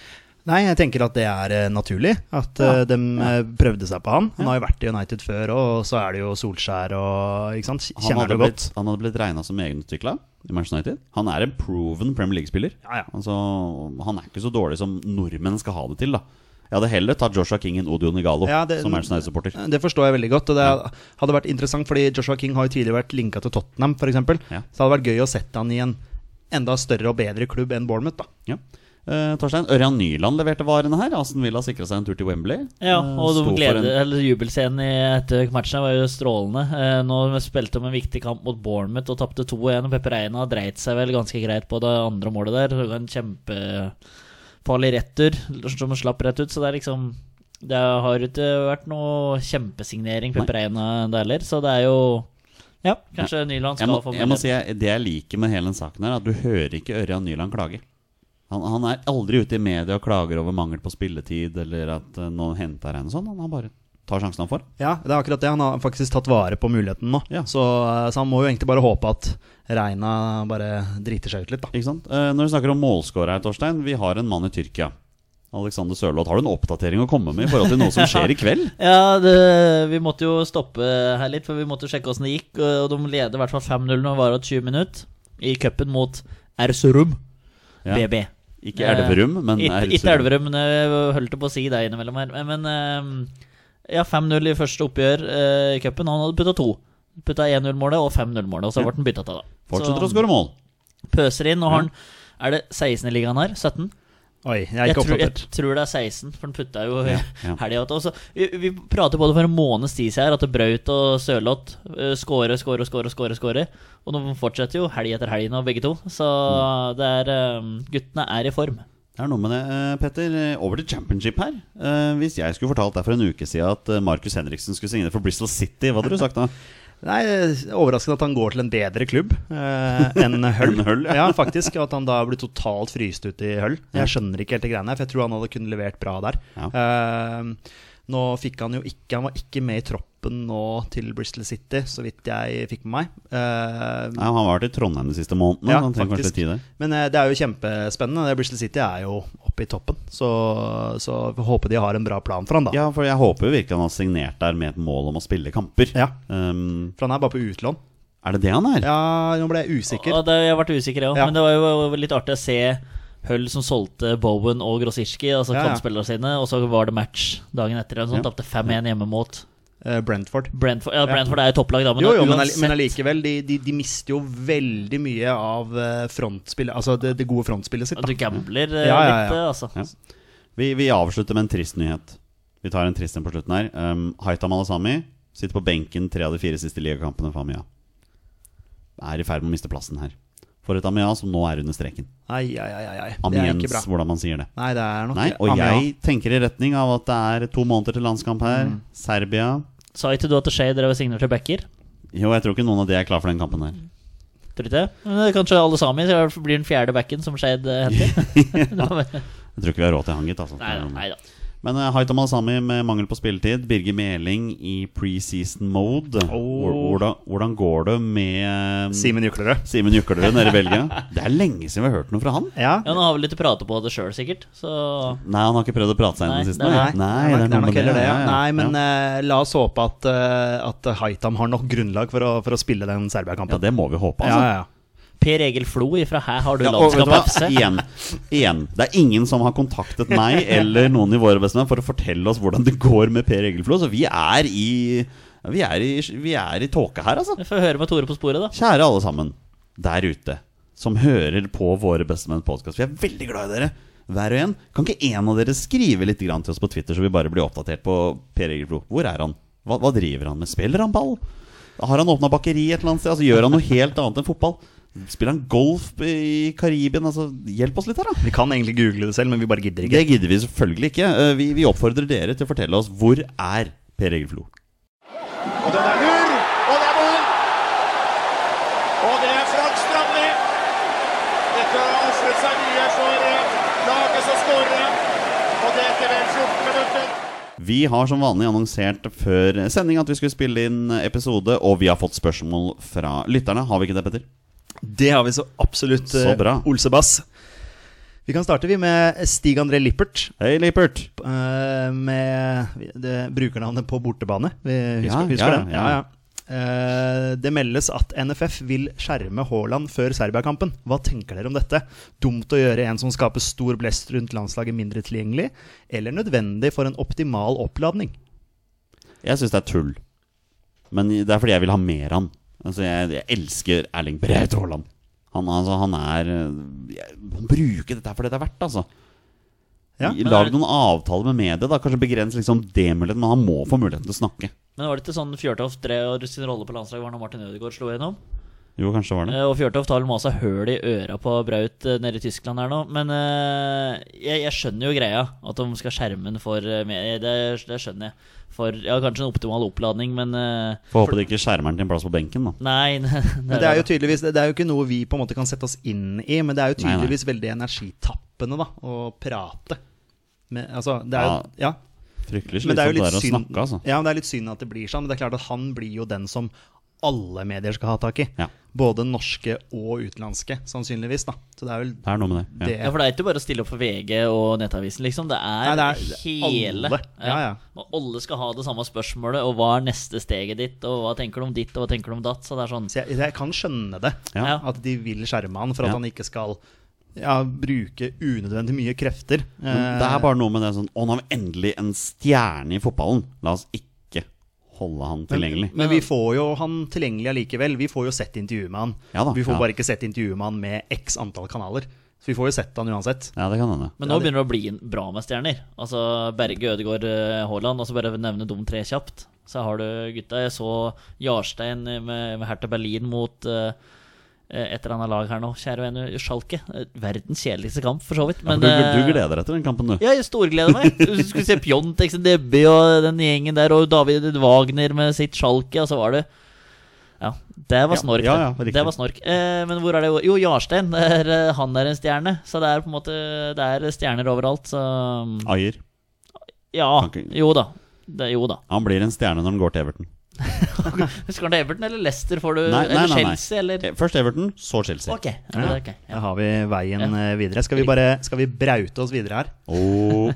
Speaker 3: Nei, jeg tenker at det er eh, naturlig at eh, de eh, prøvde seg på han. Han har jo vært i United før, og så er det jo Solskjær og ikke sant? Kj-
Speaker 1: Han
Speaker 3: Kjenner
Speaker 1: hadde
Speaker 3: det
Speaker 1: blitt,
Speaker 3: godt.
Speaker 1: han hadde blitt regna som egenutvikla i Manchester United. Han er en proven Premier League-spiller.
Speaker 3: Ja, ja.
Speaker 1: Altså, han er ikke så dårlig som nordmenn skal ha det til, da. Jeg hadde heller tatt Joshua King enn Odio Nigalo
Speaker 3: Ja, det-
Speaker 1: som Manchester United-supporter.
Speaker 3: Eh, Det forstår jeg veldig godt. Og det hadde vært interessant, fordi Joshua King har jo tidligere vært linka til Tottenham, f.eks.
Speaker 1: Ja.
Speaker 3: Så det hadde vært gøy å sette han i en enda større og bedre klubb enn Bournemouth, da.
Speaker 1: Ja. Eh, Torstein, Ørjan Nyland leverte varene her. Aston Villa sikra seg en tur til Wembley.
Speaker 2: Ja,
Speaker 1: Eh,
Speaker 2: og de
Speaker 1: sto for
Speaker 2: glede,
Speaker 1: en-
Speaker 2: eller jubelscenen i etter matchen var jo strålende. Eh, Nå spilte de en viktig kamp mot Bournemouth og tapte 2-1. og Pepe Reina dreit seg vel ganske greit på det andre målet der. Det var En kjempefarlig retur som slapp rett ut. Så det er liksom Det har ikke vært noe kjempesignering Pepe Reina der heller, så det er jo Ja, kanskje Nyland
Speaker 1: jeg
Speaker 2: skal
Speaker 1: må,
Speaker 2: få
Speaker 1: jeg må
Speaker 2: mulighet.
Speaker 1: si jeg, Det jeg liker med hele den saken, her er at du hører ikke Ørjan Nyland klage. Han, han er aldri ute i media og klager over mangel på spilletid eller at eh, noen henter en og sånn. Han- Han bare tar sjansen han får.
Speaker 3: Ja, det er akkurat det. Han har faktisk tatt vare på muligheten nå.
Speaker 1: Ja.
Speaker 3: Så, så han må jo egentlig bare håpe at Reina bare driter seg ut litt, da.
Speaker 1: Ikke sant? Eh, når vi snakker om målskårer her, Torstein, vi har en mann i Tyrkia. Alexander Sørloth, har du en oppdatering å komme med i forhold til noe som skjer i kveld?
Speaker 2: Ja, det, vi måtte jo stoppe her litt, for vi måtte sjekke åssen det gikk. Og de leder i hvert fall 5-0 når det varer 20 minutter. I cupen mot Erzurum
Speaker 1: Ja.
Speaker 2: BB.
Speaker 1: Ikke Elverum, men
Speaker 2: Ikke-
Speaker 1: er-
Speaker 2: Ikke Eh, Elverum, men jeg holdt på å si det innimellom her. Men ehm, ja, 5-0 i første oppgjør eh, i cupen. Han hadde putta to. Putta 1-0-målet og 5-0-målet, og så ble han bytta til, da.
Speaker 1: Fortsetter å skåre mål.
Speaker 2: pøser inn, og har han Er det 16. i ligaen her? 17?
Speaker 3: Oi, jeg er
Speaker 2: jeg,
Speaker 3: ikke
Speaker 2: tror, jeg
Speaker 3: oppdatert.
Speaker 2: tror det er 16, for den putta jo
Speaker 1: Ja,
Speaker 2: ja,
Speaker 1: ja.
Speaker 2: helga til. Også, vi, vi prater både for en måneds tid siden her at Braut og Sørloth eh, scorer, scorer, scorer, scorer, scorer. Og de fortsetter jo helg etter helg nå, begge to. Så
Speaker 3: Mm.
Speaker 2: det er eh, Guttene er i form.
Speaker 1: Det er noe med det, eh, Petter. Eh, Over til championship her. Eh, Hvis jeg skulle fortalt deg for en uke siden at eh, Markus Henriksen skulle signere for Bristol City, hva hadde du sagt da?
Speaker 3: Nei, Overraskende at han går til en bedre klubb eh, enn Hull.
Speaker 1: Enn Hull, ja.
Speaker 3: ja. faktisk. Og at han da blir totalt fryst ut i Hull. Jeg skjønner ikke helt de greiene her, for jeg tror han hadde kunnet levert bra der.
Speaker 1: Ja.
Speaker 3: Eh, nå fikk han jo ikke Han var ikke med i troppen nå til Bristol City, så vidt jeg fikk med meg. Eh,
Speaker 1: Nei, han har vært i Trondheim de siste månedene.
Speaker 3: Ja,
Speaker 1: han trenger kanskje
Speaker 3: faktisk.
Speaker 1: litt tid der.
Speaker 3: Men eh, det er jo kjempespennende. Det Bristol City er jo oppe i toppen, så, så vi håper de har en bra plan for han da.
Speaker 1: Ja, for jeg håper jo virkelig han har signert der med et mål om å spille kamper.
Speaker 3: Ja.
Speaker 1: Um,
Speaker 3: For han er bare på utlån.
Speaker 1: er det det han er?
Speaker 3: Ja, nå ble jeg usikker.
Speaker 2: Og det, jeg har vært usikker, jeg òg.
Speaker 3: Ja.
Speaker 2: Men det var jo litt artig å se Hull som solgte Bowen og Grosicki, altså
Speaker 3: Ja, ja.
Speaker 2: kantspillerne sine, og så var det match dagen etter. Og sånn,
Speaker 1: Ja.
Speaker 2: Tapte 5-1 hjemme mot
Speaker 3: Eh, Brentford.
Speaker 2: Brentford. Ja, Brentford er jo topplag, da, men,
Speaker 3: jo, jo, men,
Speaker 2: uansett
Speaker 3: alli- men allikevel, de, de, de mister jo veldig mye av eh, frontspillet Altså det, det gode frontspillet sitt.
Speaker 2: Du
Speaker 3: Da.
Speaker 2: gambler eh,
Speaker 3: Ja, ja, ja.
Speaker 2: litt, eh, altså.
Speaker 1: Ja. Vi, vi avslutter med en trist nyhet. Vi tar en trist en på slutten her. Um, Haitam Alasami sitter på benken tre av de fire siste ligakampene for Amia. Er i ferd med å miste plassen her. For et Amia som nå er under streken.
Speaker 3: Ai, ai, ai, ai, ai. Det er ikke
Speaker 1: Amiens,
Speaker 3: bra.
Speaker 1: hvordan man sier det.
Speaker 3: Nei, det er nok
Speaker 1: Nei, og
Speaker 3: Amia.
Speaker 1: jeg tenker i retning av at det er to måneder til landskamp her.
Speaker 3: Mm.
Speaker 1: Serbia
Speaker 2: Sa ikke du at Shay drev og signerte backer?
Speaker 1: Jo, jeg tror ikke noen av de er klar for den kampen her.
Speaker 2: Tror du ikke det? Men det er Kanskje alle sammen så blir den fjerde backen som Skeid eh, henter?
Speaker 1: Jeg tror ikke vi har råd til han, gitt. Altså.
Speaker 2: nei da. Nei da.
Speaker 1: Men eh, Haitham Al-Sami med mangel på spilletid. Birger Meling i preseason mode. Hvor- Hvordan, hvordan går det med eh,
Speaker 3: Simen Juklerød.
Speaker 1: Simen Juklerud nede i Belgia? Det er lenge siden vi har hørt noe fra han.
Speaker 3: Ja.
Speaker 2: Ja, nå har vi litt å prate på det sjøl, sikkert. Så
Speaker 1: Nei, han har ikke prøvd å prate seg inn
Speaker 2: Nei,
Speaker 1: den siste?
Speaker 2: det er-
Speaker 1: eller? Nei,
Speaker 3: det er
Speaker 1: noe
Speaker 3: nok
Speaker 1: med det,
Speaker 3: heller det. Ja.
Speaker 1: ja, ja.
Speaker 3: Nei, men
Speaker 1: ja.
Speaker 3: eh, la oss håpe at, eh, at Haitam har nok grunnlag for å, for å spille den
Speaker 1: ja,
Speaker 3: Serbia-kampen.
Speaker 1: det må vi håpe,
Speaker 3: Ja,
Speaker 1: altså.
Speaker 3: ja, ja.
Speaker 2: Per Egil Flo ifra Hæ har du
Speaker 1: Ja, og vet du
Speaker 2: landskap
Speaker 1: hva?
Speaker 2: FC?
Speaker 1: Igjen. Igjen. Det er ingen som har kontaktet meg eller noen i våre bestemenn for å fortelle oss hvordan det går med Per Egelflo. Så vi er i ja, Vi er i, vi er i tåke her, altså.
Speaker 2: Vi får høre med Tore på sporet, da.
Speaker 1: Kjære alle sammen der ute som hører på Våre bestemenn podkast. Vi er veldig glad i dere, hver og en. Kan ikke en av dere skrive litt grann til oss på Twitter, så vi bare blir oppdatert på Per Egil Flo? Hvor er han? Hva, hva driver han med? Spiller han ball? Har han åpna bakeri et eller annet sted? Altså, gjør han noe helt annet enn fotball? Spiller han golf i Karibien? Altså, hjelp oss litt her, da.
Speaker 3: Vi kan egentlig google det selv, men vi bare gidder ikke.
Speaker 1: Det gidder vi selvfølgelig ikke. Eh, Vi, vi oppfordrer dere til å fortelle oss hvor er Per Egil Flo?
Speaker 5: Og den er lur, og det er mål! Og det er Frank Strandli. Dette har avsluttet seg mye for eh, laget som skårer. Og det etter vel 14 minutter.
Speaker 1: Vi har som vanlig annonsert før sending at vi skulle spille inn episode, og vi har fått spørsmål fra lytterne. Har vi ikke det, Petter?
Speaker 3: Det har vi så absolutt. eh,
Speaker 1: Så bra.
Speaker 3: Olsebass. Vi kan starte vi med Stig André Lippert.
Speaker 1: Hei, Lippert.
Speaker 3: eh, med det, brukernavnet på bortebane. Vi husker,
Speaker 1: Ja,
Speaker 3: husker
Speaker 1: ja,
Speaker 3: det?
Speaker 1: ja.
Speaker 3: Eh, det meldes at NFF vil skjerme Haaland før Serbia-kampen. Hva tenker dere om dette? Dumt å gjøre en som skaper stor blest rundt landslaget mindre tilgjengelig, eller nødvendig for en optimal oppladning?
Speaker 1: Jeg syns det er tull. Men det er fordi jeg vil ha mer av han. Altså, jeg, jeg elsker Erling Braut Haaland. Han, altså, han er eh, jeg- Han bruker dette her for det det er verdt, altså.
Speaker 3: Ja,
Speaker 2: men
Speaker 1: Lag
Speaker 2: er-
Speaker 1: noen avtaler med media, da. Kanskje begrens liksom det muligheten, men han må få muligheten til å snakke.
Speaker 2: Men var det ikke sånn Fjørtoft drev og sin rolle på landslaget var når Martin Ødegaard slo gjennom?
Speaker 1: Jo, kanskje det var det.
Speaker 2: Eh, Og Fjørtoft har vel masa høl i øra på Braut eh, nede i Tyskland her nå. Men eh, jeg, jeg skjønner jo greia, at de skal skjerme den for eh, med- det, det skjønner jeg. For ja, kanskje en optimal oppladning, men eh,
Speaker 1: Får håpe det ikke skjermer han til en plass på benken, da.
Speaker 2: Nei. Det,
Speaker 3: Men det er jo tydeligvis Det er jo ikke noe vi på en måte kan sette oss inn i, men det er jo
Speaker 1: Nei, nei.
Speaker 3: tydeligvis veldig energitappende da å prate. Men, altså, det er jo, ja.
Speaker 1: Fryktelig
Speaker 3: Men det
Speaker 1: slitsomt
Speaker 3: er jo
Speaker 1: det
Speaker 3: litt
Speaker 1: der å
Speaker 3: synd
Speaker 1: snakke, altså.
Speaker 3: Ja, men det er litt synd at det blir sånn. Men det er klart at han blir jo den som alle medier skal ha tak i.
Speaker 1: Ja.
Speaker 3: Både norske og utenlandske, sannsynligvis. da Så det er vel
Speaker 1: Det er noe med det.
Speaker 3: det
Speaker 2: Ja, for det er ikke bare å stille opp for VG og Nettavisen, liksom. Det er,
Speaker 3: Nei, det er
Speaker 2: hele.
Speaker 3: alle. Ja, ja.
Speaker 2: Og alle skal ha det samme spørsmålet, og hva er neste steget ditt, og hva tenker du om ditt, og hva tenker du om datt? Så det er sånn
Speaker 3: Så jeg, jeg kan skjønne det.
Speaker 1: Ja.
Speaker 2: Ja.
Speaker 3: At de vil skjerme han for
Speaker 1: Ja.
Speaker 3: at han ikke skal ja, bruke unødvendig mye krefter.
Speaker 1: Men Mm. det er bare noe med det sånn Å, nå har vi endelig en stjerne i fotballen. La oss ikke holde han tilgjengelig.
Speaker 3: Men vi får jo han tilgjengelig allikevel. Vi får jo sett intervjuet med han.
Speaker 1: Ja da,
Speaker 3: vi får
Speaker 1: ja.
Speaker 3: bare ikke sett intervjuet med han med x antall kanaler. Så vi får jo sett han uansett.
Speaker 1: Ja, det kan hende.
Speaker 2: Men nå begynner det å bli en- bra med stjerner. Altså Berge, Ødegaard, eh, Haaland. Og så bare nevne de tre kjapt. Så har du gutta. Jeg så Jarstein med, med Hertha Berlin mot eh, et eller annet lag her nå. Kjære venner, Schalke. Eh, Verdens kjedeligste kamp, for så vidt. Men,
Speaker 1: du, du
Speaker 2: eh,
Speaker 1: du gleder deg til den kampen, du.
Speaker 2: ja, jeg storgleder meg. Du skulle se Pjontek og Debbie og den gjengen der, og David Wagner med sitt sjalke, og så var det Ja, det var snork.
Speaker 1: ja, ja,
Speaker 2: det.
Speaker 1: riktig.
Speaker 2: det var snork. Eh, men hvor er det Jo, Jarstein. det Er, eh, han er en stjerne. Så det er på en måte Det er stjerner overalt, så
Speaker 1: Ayer.
Speaker 2: Ja.
Speaker 1: Ah, Kan ikke-
Speaker 2: Jo da. Det, jo da.
Speaker 1: Han blir en stjerne når han går til Everton.
Speaker 2: Husker han til Everton eller Leicester, får du?
Speaker 1: Nei, nei,
Speaker 2: eller
Speaker 1: nei, nei.
Speaker 2: Chelsea, eller
Speaker 1: Eh, Først Everton, så Chelsea.
Speaker 2: Ok. Ja, men det er ok,
Speaker 3: Da
Speaker 2: ja.
Speaker 3: har vi veien eh, videre. Skal vi bare skal vi braute oss videre her?
Speaker 1: Åh.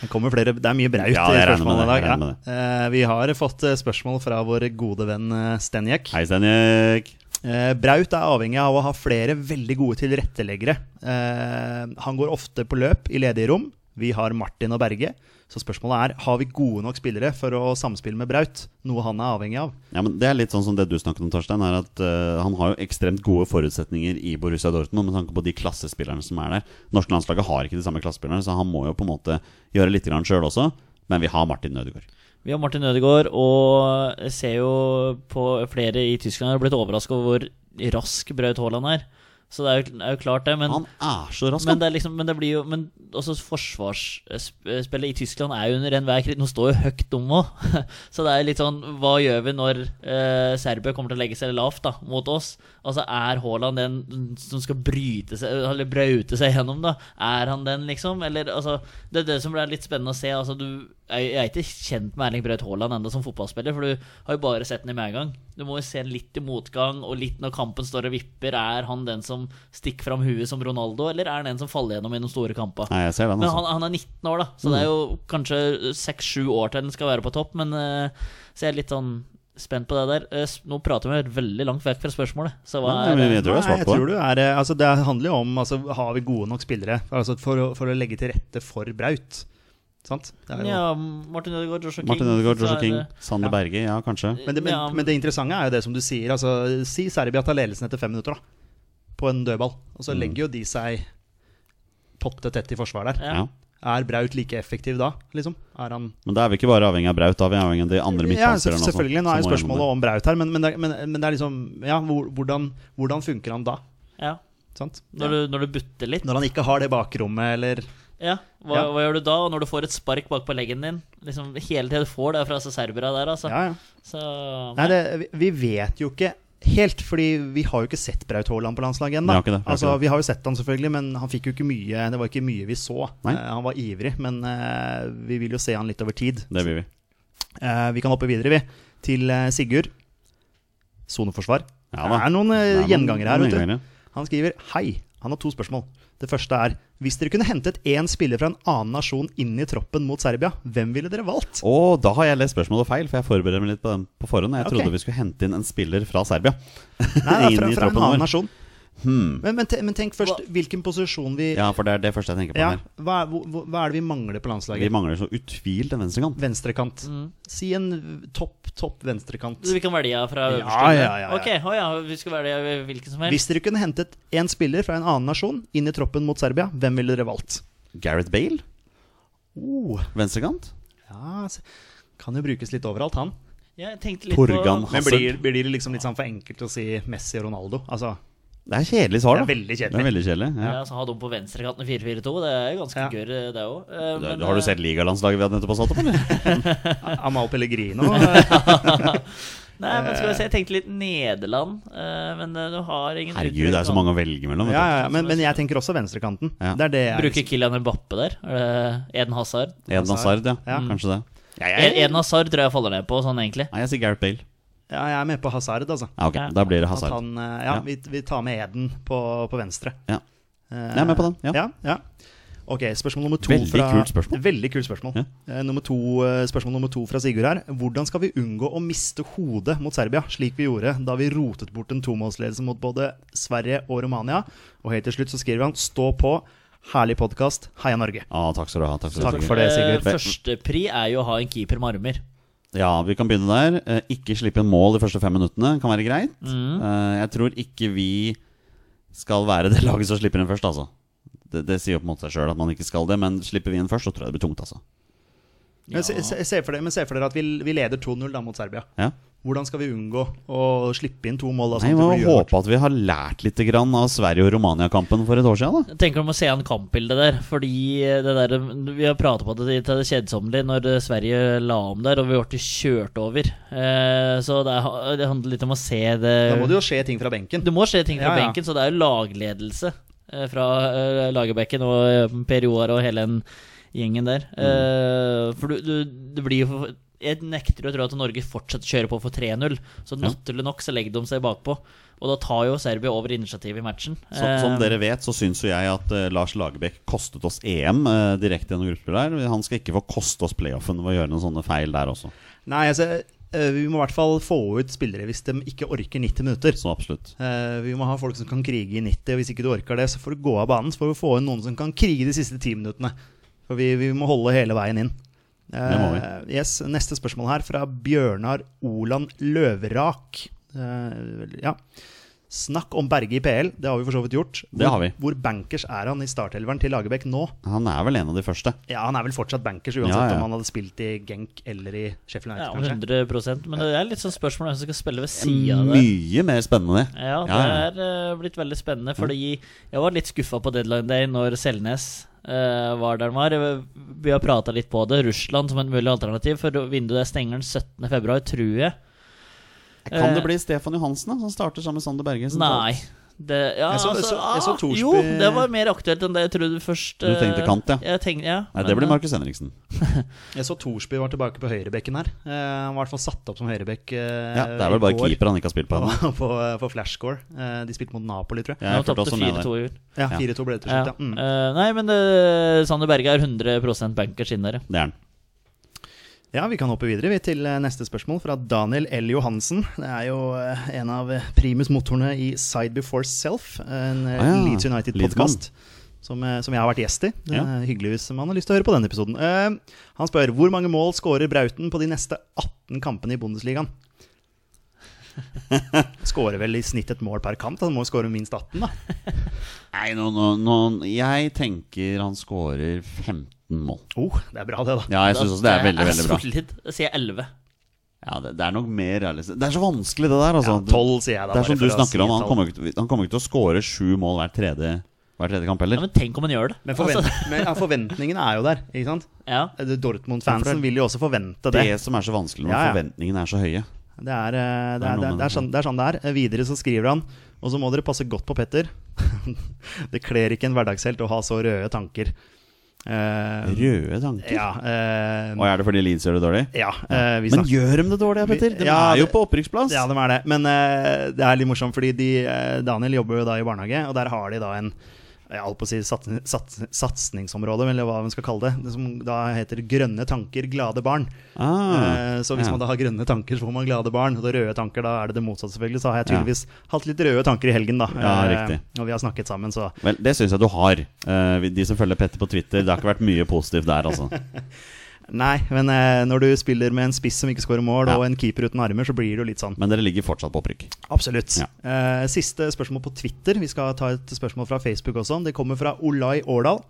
Speaker 3: Det kommer flere, det er mye braut
Speaker 1: Ja,
Speaker 3: i
Speaker 1: jeg regner med
Speaker 3: spørsmålene i
Speaker 1: det, jeg
Speaker 3: dag. Ja.
Speaker 1: regner med
Speaker 3: Eh, vi har fått eh, spørsmål fra vår gode venn eh, Stenjek.
Speaker 1: Hei, Stenjek.
Speaker 3: Eh, Braut er avhengig av å ha flere veldig gode tilretteleggere. Eh, han går ofte på løp i ledige rom. Vi har Martin og Berge. Så spørsmålet er har vi gode nok spillere for å samspille med Braut, noe han er avhengig av.
Speaker 1: Ja, men Det er litt sånn som det du snakket om, Torstein. er at eh, Han har jo ekstremt gode forutsetninger i Borussia Dortmund med tanke på de klassespillerne som er der. Norske landslaget har ikke de samme klassespillerne, så han må jo på en måte gjøre litt sjøl også. Men vi har Martin Ødegaard.
Speaker 2: Vi har Martin Ødegaard, og jeg ser jo på flere i Tyskland har blitt overraska over hvor rask Braut Haaland er. Så det er jo, er jo klart, det. Men
Speaker 1: Han er så rask,
Speaker 2: men
Speaker 1: han.
Speaker 2: det, er liksom, men det blir jo Men også forsvarsspillet i Tyskland er jo under enhver kritikk. Nå står jo høyt om òg. Så det er litt sånn Hva gjør vi når eh, Serbia kommer til å legge seg lavt da mot oss? Altså Er Haaland den som skal bryte seg Eller braute seg gjennom, da? Er han den, liksom? Eller altså Det er det som er litt spennende å se. Altså du Jeg jeg er ikke kjent med Erling Braut Haaland ennå som fotballspiller, for du har jo bare sett ham i medgang. Du må jo se han litt i motgang, og litt når kampen står og vipper. Er han den som stikker fram huet som Ronaldo, eller er han den som faller gjennom i de store kampene?
Speaker 1: Nei, jeg ser den,
Speaker 2: Men
Speaker 1: altså.
Speaker 2: han, han er 19 år, da, så det er
Speaker 1: Mm.
Speaker 2: jo kanskje 6-7 år til han skal være på topp. Men eh, så jeg er litt sånn spent på det der. Eh, s- nå prater vi veldig langt vekk fra spørsmålet, så hva
Speaker 1: Nei,
Speaker 2: er
Speaker 1: men jeg tror jeg har
Speaker 3: Nei,
Speaker 1: svart
Speaker 3: jeg
Speaker 1: på
Speaker 3: tror
Speaker 1: det.
Speaker 3: du er, eh, altså det handler jo om altså, Har vi gode nok spillere altså, for, å, for å legge til rette for Braut? Sant? Det er jo,
Speaker 2: ja, Martin Ødegaard, Joshua King.
Speaker 1: Martin Ødegaard,
Speaker 2: så
Speaker 1: Joshua
Speaker 2: er
Speaker 1: King,
Speaker 2: det-
Speaker 1: Sander Berge, ja, kanskje.
Speaker 3: men, det, men,
Speaker 2: ja,
Speaker 3: men det interessante er jo det som du sier. Altså, si Serbia tar ledelsen etter fem minutter da, på en dødball. Og
Speaker 1: Mm.
Speaker 3: så legger jo de seg potte tett i forsvar der.
Speaker 1: Ja.
Speaker 2: ja.
Speaker 3: Er Braut like effektiv da? Liksom? Er han
Speaker 1: Men da er vi ikke bare avhengig av Braut, da er vi avhengig av de andre
Speaker 3: Ja,
Speaker 1: midtbanespillerne også,
Speaker 3: selvfølgelig.
Speaker 1: som
Speaker 3: Nå er jo
Speaker 1: må gjennom
Speaker 3: spørsmålet om Braut her, men, men, det, er- men, men det er liksom Ja, hvor- hvordan, hvordan funker han da?
Speaker 2: ja.
Speaker 3: Sant?
Speaker 2: Når, Du, når du butter litt.
Speaker 3: Når han ikke har det bakrommet, eller
Speaker 2: Ja, hva,
Speaker 3: Ja.
Speaker 2: hva gjør du da? Og når du får et spark bak på leggen din Liksom Hele tiden du får det fra altså, serbere der, altså.
Speaker 3: Ja, ja.
Speaker 2: Så,
Speaker 3: Nei, det, vi- vi vet jo ikke helt, fordi vi har jo ikke sett Braut Haaland på
Speaker 1: Vi
Speaker 3: landslaget
Speaker 1: har
Speaker 3: ennå.
Speaker 1: ikke det, vi har ikke
Speaker 3: Altså,
Speaker 1: det.
Speaker 3: vi har jo sett han selvfølgelig, men han fikk jo ikke mye Det var ikke mye vi så.
Speaker 1: Nei.
Speaker 3: Eh, han var ivrig, men eh, vi vil jo se han litt over tid.
Speaker 1: Det vil vi.
Speaker 3: Eh, vi kan hoppe videre, vi. Til eh, Sigurd. Soneforsvar.
Speaker 1: Ja
Speaker 3: det
Speaker 1: da.
Speaker 3: er noen eh,
Speaker 1: Det er noen-
Speaker 3: gjengangere her.
Speaker 1: noen
Speaker 3: vet du
Speaker 1: gjengangere.
Speaker 3: Han skriver Hei, han har to spørsmål. Det første er Hvis dere kunne hentet én spiller fra en annen nasjon inn i troppen mot Serbia, hvem ville dere valgt?
Speaker 1: Og da har jeg lest spørsmålet feil, for jeg forbereder meg litt på den på forhånd. Jeg
Speaker 3: Ok.
Speaker 1: trodde vi skulle hente inn en spiller fra Serbia.
Speaker 3: Nei, det er fra,
Speaker 1: Inn i
Speaker 3: fra en
Speaker 1: troppen
Speaker 3: annen
Speaker 1: vår.
Speaker 3: nasjon.
Speaker 1: Hmm.
Speaker 3: Men, men, te, men tenk først hvilken posisjon vi
Speaker 1: Ja, for det er det første jeg tenker på
Speaker 3: Ja,
Speaker 1: her.
Speaker 3: hva, er, hvor- hvor- hva er det vi mangler på
Speaker 1: Vi
Speaker 3: landslaget?
Speaker 1: mangler så utvilt en venstrekant.
Speaker 3: Venstrekant. Si en topp, topp venstrekant.
Speaker 2: Vi kan velge fra
Speaker 3: Ja,
Speaker 2: øverste eller?
Speaker 3: ja, ja, ja.
Speaker 2: Ok, å ja, vi skal velge hvilken som helst
Speaker 3: Hvis dere kunne hentet én spiller fra en annen nasjon inn i troppen mot Serbia, hvem ville dere valgt?
Speaker 1: Gareth Bale,
Speaker 3: Oh,
Speaker 1: venstrekant.
Speaker 3: ja, se- kan jo brukes litt overalt, han.
Speaker 2: ja, Jeg tenkte litt
Speaker 1: Torgan
Speaker 2: på
Speaker 3: Men
Speaker 1: Hazard.
Speaker 3: blir, blir det liksom litt sånn for enkelt å si Messi og Ronaldo? Altså,
Speaker 1: Det er kjedelig svar, da.
Speaker 3: Det er veldig kjedelig.
Speaker 1: Det er veldig kjedelig ja.
Speaker 2: ja, så Ha dem på venstrekanten i 4-4-2 Det er jo ganske
Speaker 3: Ja.
Speaker 2: gørr det òg. Eh,
Speaker 1: Da-
Speaker 2: men,
Speaker 1: Har du sett ligalandslaget vi hadde nettopp satt opp, eller?
Speaker 3: Amal Pellegrino
Speaker 2: Nei, men skal vi se, jeg tenkte litt Nederland. eh, men eh, du har ingen
Speaker 1: Herregud, det er så mange å velge mellom.
Speaker 3: altså. ja, ja,
Speaker 1: Vet
Speaker 3: ja, men, men jeg tenker også venstrekanten.
Speaker 1: Ja.
Speaker 3: Det er det jeg
Speaker 2: Bruker Kylian Mbappe der? Er det Eden Hazard? E-,
Speaker 1: du. Eden Hazard, ja.
Speaker 3: Ja.
Speaker 1: Kanskje det. Ja, jeg,
Speaker 2: Eden Hazard tror jeg faller ned på, sånn egentlig.
Speaker 1: Nei, jeg sier Gareth Bale.
Speaker 3: ja, jeg er med på Hazard, altså.
Speaker 1: Ja, ok,
Speaker 2: Ja.
Speaker 1: Da blir det
Speaker 3: At
Speaker 1: Hazard.
Speaker 3: han, eh, ja,
Speaker 1: Ja.
Speaker 3: Vi, vi tar med Eden på, på venstre.
Speaker 1: Ja.
Speaker 3: Eh,
Speaker 1: Jeg er med på den, ja.
Speaker 3: ja, ja. Ok, spørsmål nummer to
Speaker 1: Veldig
Speaker 3: fra,
Speaker 1: kult spørsmål.
Speaker 3: Veldig kult spørsmål. Eh, nummer to, eh, spørsmål nummer to fra Sigurd her. Hvordan skal vi unngå å miste hodet mot Serbia, slik vi gjorde da vi rotet bort en tomålsledelse mot både Sverige og Romania? Og helt til slutt så skriver han 'Stå på'. Herlig podkast. Heia Norge.
Speaker 1: Ja, takk skal du ha. Takk, skal du
Speaker 3: Takk
Speaker 1: ha.
Speaker 3: for det, Sigurd.
Speaker 2: Eh, Førstepri er jo å ha en keeper med armer.
Speaker 1: Ja, vi kan begynne der. Eh, Ikke slippe inn mål de første fem minuttene kan være greit.
Speaker 3: Mm.
Speaker 1: Eh, Jeg tror ikke vi skal være det laget som slipper inn først, altså. Det, det sier jo på en måte seg sjøl at man ikke skal det, men slipper vi inn først, så tror jeg det blir tungt, altså.
Speaker 3: Men se, se, se for dere, men se for dere at vi, vi leder 2-0 da mot Serbia.
Speaker 1: Ja.
Speaker 3: Hvordan skal vi unngå å slippe inn to mål? Da,
Speaker 1: Nei,
Speaker 3: sånn at
Speaker 1: Vi må
Speaker 3: det blir uavgjort?
Speaker 1: håpe at vi har lært litt grann av Sverige- og Romania-kampen for et år siden, da.
Speaker 2: Jeg tenker om å se an kampbildet der, fordi eh, det der Vi har pratet på det til det kjedsommelige når eh, Sverige la om der, og vi ble kjørt over. Eh, Så det, er, det handler litt om å se det
Speaker 3: da må det jo skje ting fra benken.
Speaker 2: Det må skje ting fra
Speaker 3: Ja, ja.
Speaker 2: benken, så det er jo lagledelse eh, fra eh, Lagerbekken og eh, Per Joar og hele den gjengen der.
Speaker 1: Mm.
Speaker 2: Eh, For du, du, det blir jo for- Jeg nekter å tro at Norge fortsetter å kjøre på for 3-0, så naturlig nok så legger de seg bakpå. Og da tar jo Serbia over initiativet i matchen.
Speaker 1: Så, som
Speaker 2: Eh,
Speaker 1: dere vet, så syns jo jeg at eh, Lars Lagerbäck kostet oss EM eh, direkte gjennom gruppespill der. Han skal ikke få koste oss playoffen ved å gjøre noen sånne feil der også.
Speaker 3: Nei, altså, eh, vi må i hvert fall få ut spillere hvis de ikke orker 90 minutter.
Speaker 1: Så absolutt.
Speaker 3: Eh, vi må ha folk som kan krige i 90, og hvis ikke du orker det, så får du gå av banen. Så får vi få inn noen som kan krige de siste 10 minuttene. For vi, vi må holde hele veien inn.
Speaker 1: Det må
Speaker 3: Eh, yes, neste spørsmål her fra Bjørnar Olan Løverak. Eh, ja. Snakk om Berge i PL, det har vi for så vidt gjort. Hvor,
Speaker 1: Det har vi.
Speaker 3: Hvor bankers er han i startelveren til Lagerbäck nå?
Speaker 1: Han er vel en av de første.
Speaker 3: Ja, han er vel fortsatt bankers, uansett
Speaker 1: Ja, ja.
Speaker 3: om han hadde spilt i Genk eller i Sheffield
Speaker 2: Ja,
Speaker 3: United,
Speaker 2: 100 Men det er litt sånn spørsmål om hvem som skal spille ved sida av det.
Speaker 1: Mye mer spennende, det.
Speaker 2: Ja, det
Speaker 1: Ja,
Speaker 2: er eh, blitt veldig spennende, fordi jeg var litt skuffa på deadline day når Selnes eh, var der han var. Vi har prata litt på det. Russland som et mulig alternativ, for vinduet stenger den 17. februar, tror jeg.
Speaker 1: Kan
Speaker 2: Eh,
Speaker 1: det bli Stefan Johansen, da, som starter sammen med Sander Berge? sentralt?
Speaker 2: Nei. Det, ja,
Speaker 3: Jeg så- jeg
Speaker 2: altså,
Speaker 3: så- jeg så
Speaker 2: ah,
Speaker 3: Torsby-
Speaker 2: Jo, det var mer aktuelt enn det jeg trodde først.
Speaker 1: Du tenkte
Speaker 2: eh,
Speaker 1: kant, ja.
Speaker 2: Jeg tenkte, ja
Speaker 1: Nei, det blir
Speaker 2: men, eh,
Speaker 1: Markus Henriksen.
Speaker 3: kanskje. Jeg så Thorsby var tilbake på høyrebekken her. Eh, han var i hvert fall satt opp som høyrebekk eh,
Speaker 1: Ja, Det er vel bare
Speaker 3: i går
Speaker 1: keeper han ikke har spilt på ennå.
Speaker 3: På, på, på flashscore. Eh, de spilte mot Napoli, tror jeg.
Speaker 2: Nå
Speaker 1: Jeg fulgte
Speaker 2: tapte
Speaker 1: også med
Speaker 2: 4-2
Speaker 1: der.
Speaker 2: i år.
Speaker 3: Ja,
Speaker 1: Ja.
Speaker 3: 4-2 ble det til
Speaker 2: Ja.
Speaker 3: slutt, ja. Mm.
Speaker 2: Eh, nei, men eh, Sander Berge er 100 bankers inn der. ja.
Speaker 1: Det er han.
Speaker 3: Ja, vi kan hoppe videre vi, til eh, neste spørsmål fra Daniel L. Johansen. Det er jo eh, en av eh, primusmotorene i Side Before Self, en eh,
Speaker 1: Ah, ja.
Speaker 3: Leeds United-podkast. Som, eh, som jeg har vært gjest i. Det
Speaker 1: Ja.
Speaker 3: er Hyggelig hvis man har lyst til å høre på den episoden. Eh, han spør hvor mange mål skårer Brauten på de neste 18 kampene i Bundesligaen? Skårer vel i snitt et mål per kamp? da. Han må jo skåre minst 18, da.
Speaker 1: Nei, nå, nå, nå, jeg tenker han skårer 15 mål.
Speaker 3: Oh, det er bra, det, da.
Speaker 1: Ja, jeg syns også det er veldig, veldig bra.
Speaker 2: Solid. Da sier jeg 11.
Speaker 1: Ja, det, det er nok mer realistisk. Det er så vanskelig, det der. Altså.
Speaker 3: Ja, 12 sier jeg da,
Speaker 1: Det er
Speaker 3: bare
Speaker 1: som du
Speaker 3: for å si
Speaker 1: snakker om. Han
Speaker 3: tall.
Speaker 1: kommer, ikke, til- han kommer ikke til å skåre sju mål hver tredje, hver tredje kamp
Speaker 2: Ja,
Speaker 1: heller.
Speaker 2: men tenk om han gjør det.
Speaker 3: Men, forvent
Speaker 2: Altså,
Speaker 3: men ja, forventningene er jo der, ikke sant?
Speaker 2: ja.
Speaker 3: Eh, Dortmund-fansen vil jo også forvente
Speaker 1: Det
Speaker 3: det.
Speaker 1: som er så vanskelig når
Speaker 3: Ja, ja.
Speaker 1: forventningene er så høye.
Speaker 3: Det er, eh, det,
Speaker 1: Det er
Speaker 3: er,
Speaker 1: noe
Speaker 3: det,
Speaker 1: med
Speaker 3: er, det,
Speaker 1: det.
Speaker 3: er sånn, det er sånn det er. Eh, Videre så skriver han Og så må dere passe godt på Petter. det kler ikke en hverdagshelt å ha så røde tanker. Eh,
Speaker 1: Røde tanker.
Speaker 3: ja, eh,
Speaker 1: Og er det fordi Leeds gjør det dårlig?
Speaker 3: ja eh, vi
Speaker 1: Men
Speaker 3: snakker
Speaker 1: gjør de det dårlig, ja, Petter? De
Speaker 3: Ja,
Speaker 1: er jo
Speaker 3: det-
Speaker 1: på opprykksplass.
Speaker 3: ja, de er det. Men eh, det er litt morsomt, fordi de, eh, Daniel jobber jo da i barnehage, og der har de da en jeg holdt på å si sats, sats, satsingsområde, eller hva man skal kalle det, det som da heter Grønne tanker, glade barn.
Speaker 1: Ah,
Speaker 3: Eh, Så hvis
Speaker 1: ja.
Speaker 3: man da har grønne tanker, så får man glade barn. Og da røde tanker, da er det det motsatte, selvfølgelig. Så har jeg
Speaker 1: Ja.
Speaker 3: tydeligvis hatt litt røde tanker i helgen, da.
Speaker 1: Ja,
Speaker 3: Eh,
Speaker 1: riktig.
Speaker 3: Når vi har snakket sammen, så
Speaker 1: Vel, det syns jeg du har. Eh, vi- de som følger Petter på Twitter, det har ikke vært mye positivt der, altså.
Speaker 3: Nei, men eh, når du spiller med en spiss som ikke skårer mål,
Speaker 1: Ja.
Speaker 3: og en keeper uten armer, så blir det jo litt sånn.
Speaker 1: Men dere ligger fortsatt på opprykk.
Speaker 3: Absolutt.
Speaker 1: Ja.
Speaker 3: Eh, siste spørsmål på Twitter. Vi skal ta et spørsmål fra Facebook også. Det kommer fra Olai Årdal.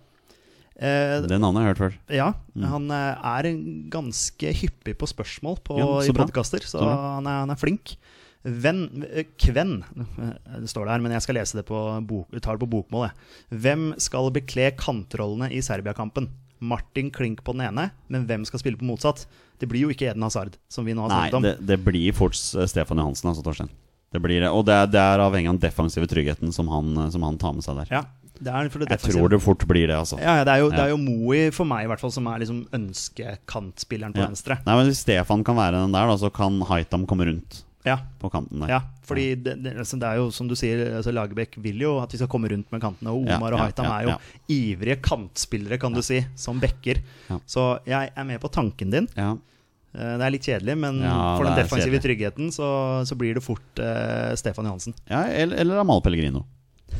Speaker 3: Eh,
Speaker 1: Det navnet har jeg hørt før.
Speaker 3: Ja,
Speaker 1: Mm.
Speaker 3: han eh, er en ganske hyppig på spørsmål på,
Speaker 1: Ja, så
Speaker 3: i
Speaker 1: bra.
Speaker 3: podkaster, så
Speaker 1: Så bra.
Speaker 3: han er, han er flink. Venn eh, Kven eh, Det står det her, men jeg skal lese det på, bok, tar det på bokmål. Jeg. Hvem skal bekle kantrollene i Serbia-kampen? Martin Klink på den ene, men hvem skal spille på motsatt? Det blir jo ikke Eden Hazard, som vi nå har
Speaker 1: Nei,
Speaker 3: snakket om.
Speaker 1: det, det blir fort eh, Stefan Johansen, altså, Torstein. Det blir det. Og det er, det er avhengig av den defensive tryggheten som han, eh, som han tar med seg der.
Speaker 3: Ja, det er for det
Speaker 1: Jeg
Speaker 3: defensive.
Speaker 1: tror det fort blir det, altså.
Speaker 3: ja, ja, det, er jo, det
Speaker 1: Ja.
Speaker 3: er jo Moe, for meg i hvert fall, som er liksom ønskekantspilleren på
Speaker 1: Ja.
Speaker 3: venstre.
Speaker 1: Nei, men Hvis Stefan kan være den der, da, så kan Haitam komme rundt
Speaker 3: Ja,
Speaker 1: på kanten der.
Speaker 3: Ja, fordi det, det, altså, det er jo som du sier, altså, Lagerbäck vil jo at vi skal komme rundt med kantene. Og
Speaker 1: Ja,
Speaker 3: Omar og
Speaker 1: ja,
Speaker 3: Haitam
Speaker 1: ja,
Speaker 3: er jo ivrige kantspillere, kan du si, som backer.
Speaker 1: Ja.
Speaker 3: Så jeg er med på tanken din.
Speaker 1: Ja.
Speaker 3: Eh, Det er litt kjedelig, men
Speaker 1: Ja,
Speaker 3: for den
Speaker 1: det er
Speaker 3: defensive
Speaker 1: kjedelig.
Speaker 3: tryggheten så, så blir det fort eh, Stefan Johansen.
Speaker 1: Ja, eller, eller Amal Pellegrino.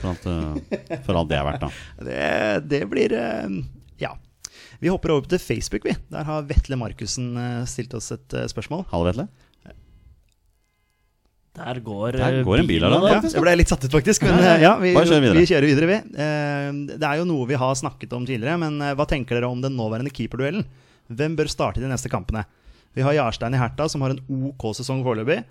Speaker 1: For alt, eh, for alt det er verdt, da.
Speaker 3: Det, det blir eh, Ja. Vi hopper over til Facebook, vi. Der har Vetle Markussen eh, stilt oss et eh, spørsmål.
Speaker 1: Hallo, Vetle.
Speaker 2: Der går,
Speaker 1: Der går en bil her, da.
Speaker 2: da.
Speaker 3: Ja, jeg ble litt satt ut, faktisk. Men eh, ja, vi,
Speaker 1: Bare kjør videre.
Speaker 3: vi kjører videre, vi. Eh, Det er jo noe vi har snakket om tidligere, men eh, hva tenker dere om den nåværende keeperduellen? Hvem bør starte de neste kampene? Vi har Jarstein i Herta, som har en OK sesong foreløpig.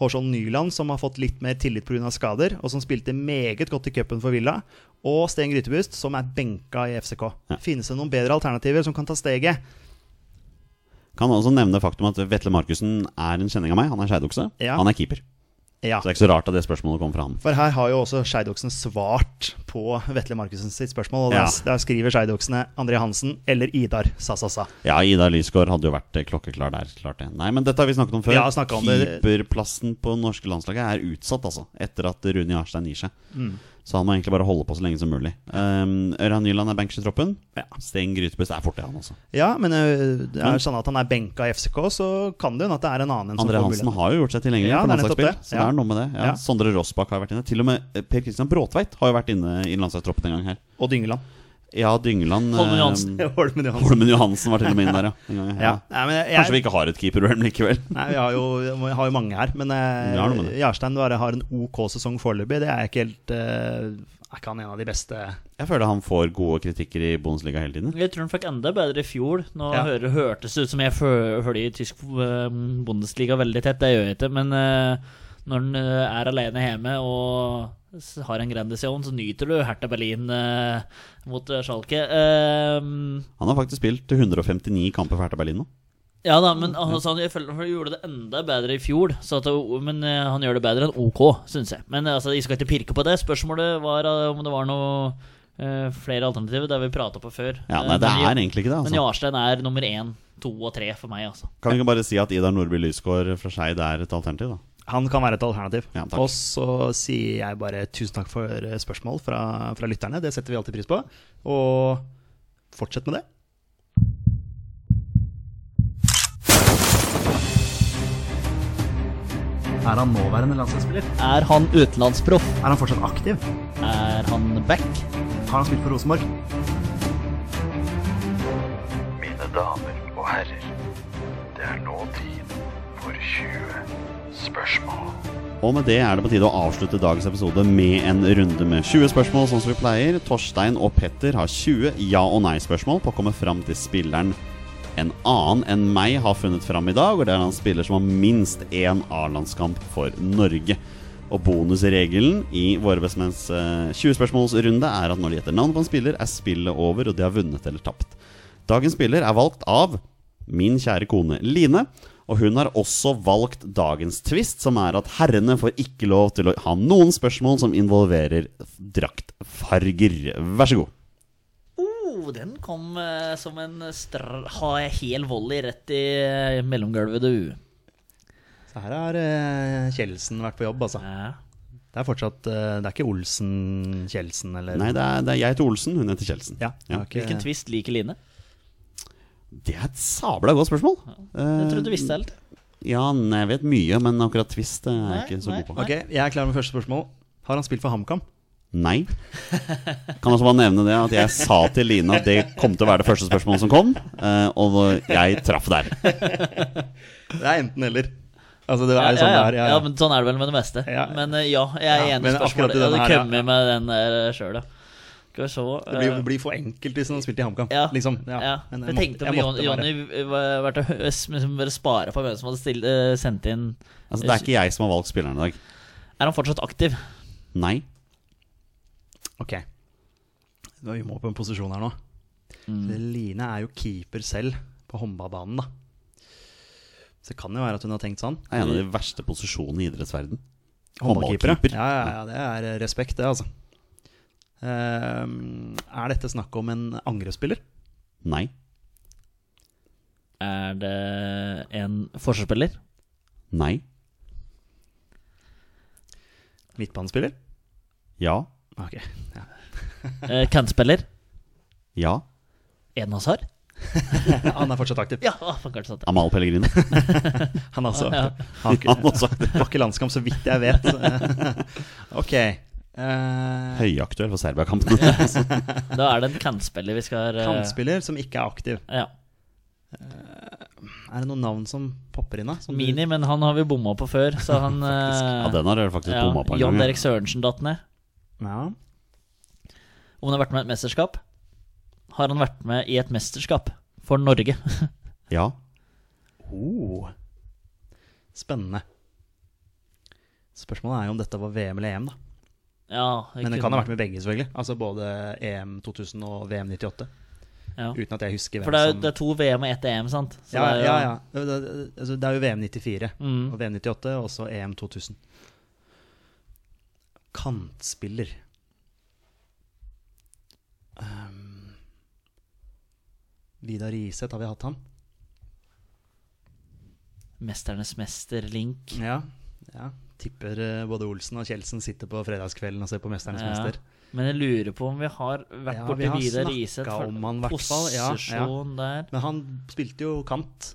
Speaker 3: Hårsholm Nyland, som har fått litt mer tillit pga. skader, og som spilte meget godt i cupen for Villa. Og Sten Grytebust, som er benka i FCK.
Speaker 1: Ja.
Speaker 3: Finnes det noen bedre alternativer som kan ta steget?
Speaker 1: Kan også nevne faktum at Vetle Markussen er en kjenning av meg. Han er skeidokse.
Speaker 3: Ja.
Speaker 1: Han er keeper.
Speaker 3: Ja.
Speaker 1: Så det er ikke så rart at det spørsmålet kom fra ham.
Speaker 3: For her har jo også Skeidoksen svart på Vetle Markussen sitt spørsmål. Og
Speaker 1: Ja.
Speaker 3: der, der skriver Skeidoksene André Hansen eller Idar sa-sa-sa.
Speaker 1: Ja, Ida Lysgård hadde jo vært eh, klokkeklar der. Klart det. Nei, men dette har vi snakket om før.
Speaker 3: Ja, snakket om det.
Speaker 1: Keeperplassen på det norske landslaget er utsatt, altså. Etter at Rune Jarstein gir seg.
Speaker 3: Mm.
Speaker 1: Så han må egentlig bare holde på så lenge som mulig. Um, Ørjan Nyland er bankers i troppen.
Speaker 3: Ja.
Speaker 1: Sten Grytebust er forte, han altså. også.
Speaker 3: Ja, men ø, det er
Speaker 1: Men-
Speaker 3: sånn at han er benka i FCK, så kan det jo hende at det er en annen enn som
Speaker 1: Mm. André
Speaker 3: får
Speaker 1: Hansen
Speaker 3: muligheten.
Speaker 1: har jo gjort seg tilgjengelig
Speaker 3: Ja,
Speaker 1: for
Speaker 3: det er nettopp
Speaker 1: landslagsspill. Så
Speaker 3: det.
Speaker 1: det
Speaker 3: Ja.
Speaker 1: er noe med det. Ja.
Speaker 3: Ja.
Speaker 1: Sondre Rossbakk har vært inne. Til og med eh, Per Christian Bråtveit har jo vært inne i landslagstroppen en gang her.
Speaker 3: Og Dyngeland.
Speaker 1: Ja, Dyngland eh,
Speaker 2: Holmen Johansen.
Speaker 3: Holmen Johansen.
Speaker 1: Holmen Johansen var til og med inn der, ja. En gang,
Speaker 3: Ja. Nei, men jeg,
Speaker 1: Kanskje vi ikke har et keeperproblem likevel.
Speaker 3: Nei, vi har jo, vi har jo mange her, men eh,
Speaker 1: Vi har noe med det.
Speaker 3: Jarstein bare har en OK sesong foreløpig. Det er ikke helt eh, Er ikke han en av de beste
Speaker 1: Jeg føler han får gode kritikker i Bundesliga hele tiden.
Speaker 2: Jeg tror han fikk enda bedre i fjor. Nå
Speaker 3: Ja.
Speaker 2: hører, hørtes det ut som jeg fø- følger tysk eh, Bundesliga veldig tett, det gjør jeg ikke. Men eh, når han eh, er alene hjemme og s- har en grandisjon, så nyter du Hertha Berlin eh, mot eh, Schalke. Eh,
Speaker 1: Han har faktisk spilt 159 kamper for Hertha Berlin nå.
Speaker 2: ja da, men altså, han, jeg føler han gjorde det enda bedre i fjor. Så at, det- men eh, han gjør det bedre enn OK, syns jeg. Men eh, altså, jeg skal ikke pirke på det. Spørsmålet var eh, om det var noe eh, flere alternativer, det har vi prata på før.
Speaker 1: Ja,
Speaker 2: Eh,
Speaker 1: nei, det
Speaker 2: men jeg-
Speaker 1: er egentlig ikke det.
Speaker 2: Men
Speaker 1: Altså.
Speaker 2: Jarstein er nummer én, to og tre for meg, altså.
Speaker 1: Kan vi ikke bare si at Idar Nordby Lysgård fra Skeid er et alternativ, da?
Speaker 3: Han kan være et alternativ.
Speaker 1: Ja, takk.
Speaker 3: og så sier jeg bare tusen takk for eh, spørsmål fra, fra lytterne. Det setter vi alltid pris på. Og fortsett med det. Er han nåværende landslagsspiller?
Speaker 2: Er han utenlandsproff?
Speaker 3: Er han fortsatt aktiv?
Speaker 2: Er han back?
Speaker 3: Har han spilt for Rosenborg?
Speaker 6: Mine damer og herrer, det er nå tid for 20 spørsmål.
Speaker 1: Og med det er det på tide å avslutte dagens episode med en runde med 20 spørsmål, sånn som vi pleier. Torstein og Petter har 20 ja- og nei-spørsmål på å komme fram til spilleren en annen enn meg har funnet fram i dag, og det er han spiller som har minst én A-landskamp for Norge. Og bonusregelen i Våre bestemenns eh, 20-spørsmålsrunde er at når de gjetter navn på en spiller, er spillet over, og de har vunnet eller tapt. Dagens spiller er valgt av min kjære kone Line. Og hun har også valgt dagens twist, som er at herrene får ikke lov til å ha noen spørsmål som involverer draktfarger. Vær så god.
Speaker 2: Oh, den kom eh, som en str... Har jeg hel volley rett i eh, mellomgulvet, du?
Speaker 3: Så her har eh, Kjeldsen vært på jobb, altså.
Speaker 2: Ja.
Speaker 3: Det er fortsatt eh, Det er ikke Olsen Kjeldsen, eller
Speaker 1: Nei, det er, det er jeg heter Olsen, hun heter Kjeldsen.
Speaker 3: Ja, det er ikke-
Speaker 2: Hvilken twist liker Line?
Speaker 1: Det er et sabla godt spørsmål. Eh,
Speaker 2: Jeg trodde du visste helt.
Speaker 1: Ja, nei, jeg vet mye, men akkurat twist eh, er jeg ikke så
Speaker 2: nei.
Speaker 1: god på.
Speaker 3: Ok, jeg er klar med første spørsmål. Har han spilt for HamKam?
Speaker 1: Nei. Kan også bare nevne det at jeg sa til Line at det kom til å være det første spørsmålet som kom, eh, og jeg traff der.
Speaker 3: Det er enten eller. Altså, det er jo
Speaker 2: ja, ja.
Speaker 3: sånn det er. Ja,
Speaker 2: ja, men sånn er det vel med det meste.
Speaker 3: Ja.
Speaker 2: Men eh, ja, jeg er
Speaker 3: Ja,
Speaker 2: enig i
Speaker 3: men akkurat
Speaker 2: spørsmålet.
Speaker 3: i
Speaker 2: Jeg hadde
Speaker 3: denne her, ja.
Speaker 2: kommet med den der eh, sjøl, ja. Skal vi se
Speaker 3: det blir,
Speaker 2: eh,
Speaker 3: det blir for enkelt hvis han har spilt i HamKam.
Speaker 2: Ja.
Speaker 3: Liksom. Ja.
Speaker 2: ja.
Speaker 3: Men
Speaker 2: Jeg
Speaker 3: måtte-
Speaker 2: tenkte om
Speaker 3: jeg måtte
Speaker 2: Jon-
Speaker 3: bare-
Speaker 2: Jonny eh, var- vært å hø- liksom bare spare for hvem som hadde stilt, eh, sendt inn
Speaker 1: Altså, det er ikke jeg som har valgt spilleren i dag.
Speaker 2: Er han fortsatt aktiv?
Speaker 1: Nei.
Speaker 3: Ok. Nå, Vi må på en posisjon her nå.
Speaker 2: Mm.
Speaker 3: Line er jo keeper selv på håndballbanen, da. Så det kan jo være at hun har tenkt sånn.
Speaker 1: Det er en av de verste posisjonene i idrettsverden
Speaker 3: Håndballkeepere.
Speaker 1: Håndballkeeper.
Speaker 3: Ja, ja, ja, det er respekt, det, altså. Ehm, er dette snakk om en angrespiller?
Speaker 1: Nei.
Speaker 2: Er det en forsvarsspiller?
Speaker 1: Nei.
Speaker 3: Midtbanespiller?
Speaker 1: Ja.
Speaker 3: Ok, ja.
Speaker 2: Eh, Kantspiller?
Speaker 1: Ja.
Speaker 2: En av Sar?
Speaker 3: Han er fortsatt aktiv.
Speaker 2: Ja, ah, faen, kanskje sant.
Speaker 1: Amal Pellegrino.
Speaker 3: Han er altså
Speaker 2: Ja.
Speaker 3: aktiv. Han har
Speaker 1: Han
Speaker 3: ikke-
Speaker 1: også
Speaker 3: Det var ikke landskamp, så vidt jeg vet. ok. Eh,
Speaker 1: høyaktuell for Serbia-kampen.
Speaker 2: Da er det en kantspiller vi skal eh,
Speaker 3: kantspiller som ikke er aktiv.
Speaker 2: Ja.
Speaker 3: Er det noen navn som popper inn, da? Som du-
Speaker 2: Mini, men han har vi bomma på før, så han
Speaker 1: Ja,
Speaker 2: eh,
Speaker 1: den har dere faktisk
Speaker 2: ja,
Speaker 1: bomma på en
Speaker 2: Jon
Speaker 1: gang.
Speaker 2: Erik Sørensen datt ned.
Speaker 3: Ja.
Speaker 2: Om han har vært med i et mesterskap? Har han vært med i et mesterskap for Norge?
Speaker 1: Ja.
Speaker 3: Oh. Spennende. Spørsmålet er jo om dette var VM eller EM, da.
Speaker 2: ja,
Speaker 3: Men det kan ha vært med begge, selvfølgelig. Altså både EM 2000 og VM 98.
Speaker 2: ja.
Speaker 3: Uten at jeg husker hvem
Speaker 2: For det er, jo-
Speaker 3: som
Speaker 2: det er to VM og ett EM, sant? Så
Speaker 3: sånn- ja,
Speaker 2: det er jo-
Speaker 3: ja, ja. Det, det, altså, det er jo VM 94
Speaker 2: Mm.
Speaker 3: og VM 98 og så E EM 2000. Kantspiller Ehm, Vidar Riseth, har vi hatt han?
Speaker 2: Mesternes mester, Link.
Speaker 3: Ja. ja. Tipper eh, både Olsen og Kjeldsen sitter på fredagskvelden og ser på 'Mesternes
Speaker 2: Ja.
Speaker 3: mester'.
Speaker 2: Men jeg lurer på om vi har vært
Speaker 3: Ja, vi
Speaker 2: borti
Speaker 3: har
Speaker 2: Vidar
Speaker 3: snakket
Speaker 2: Riseth
Speaker 3: om han i hvert fall, ja, ja.
Speaker 2: posisjon der.
Speaker 3: Men han spilte jo kant.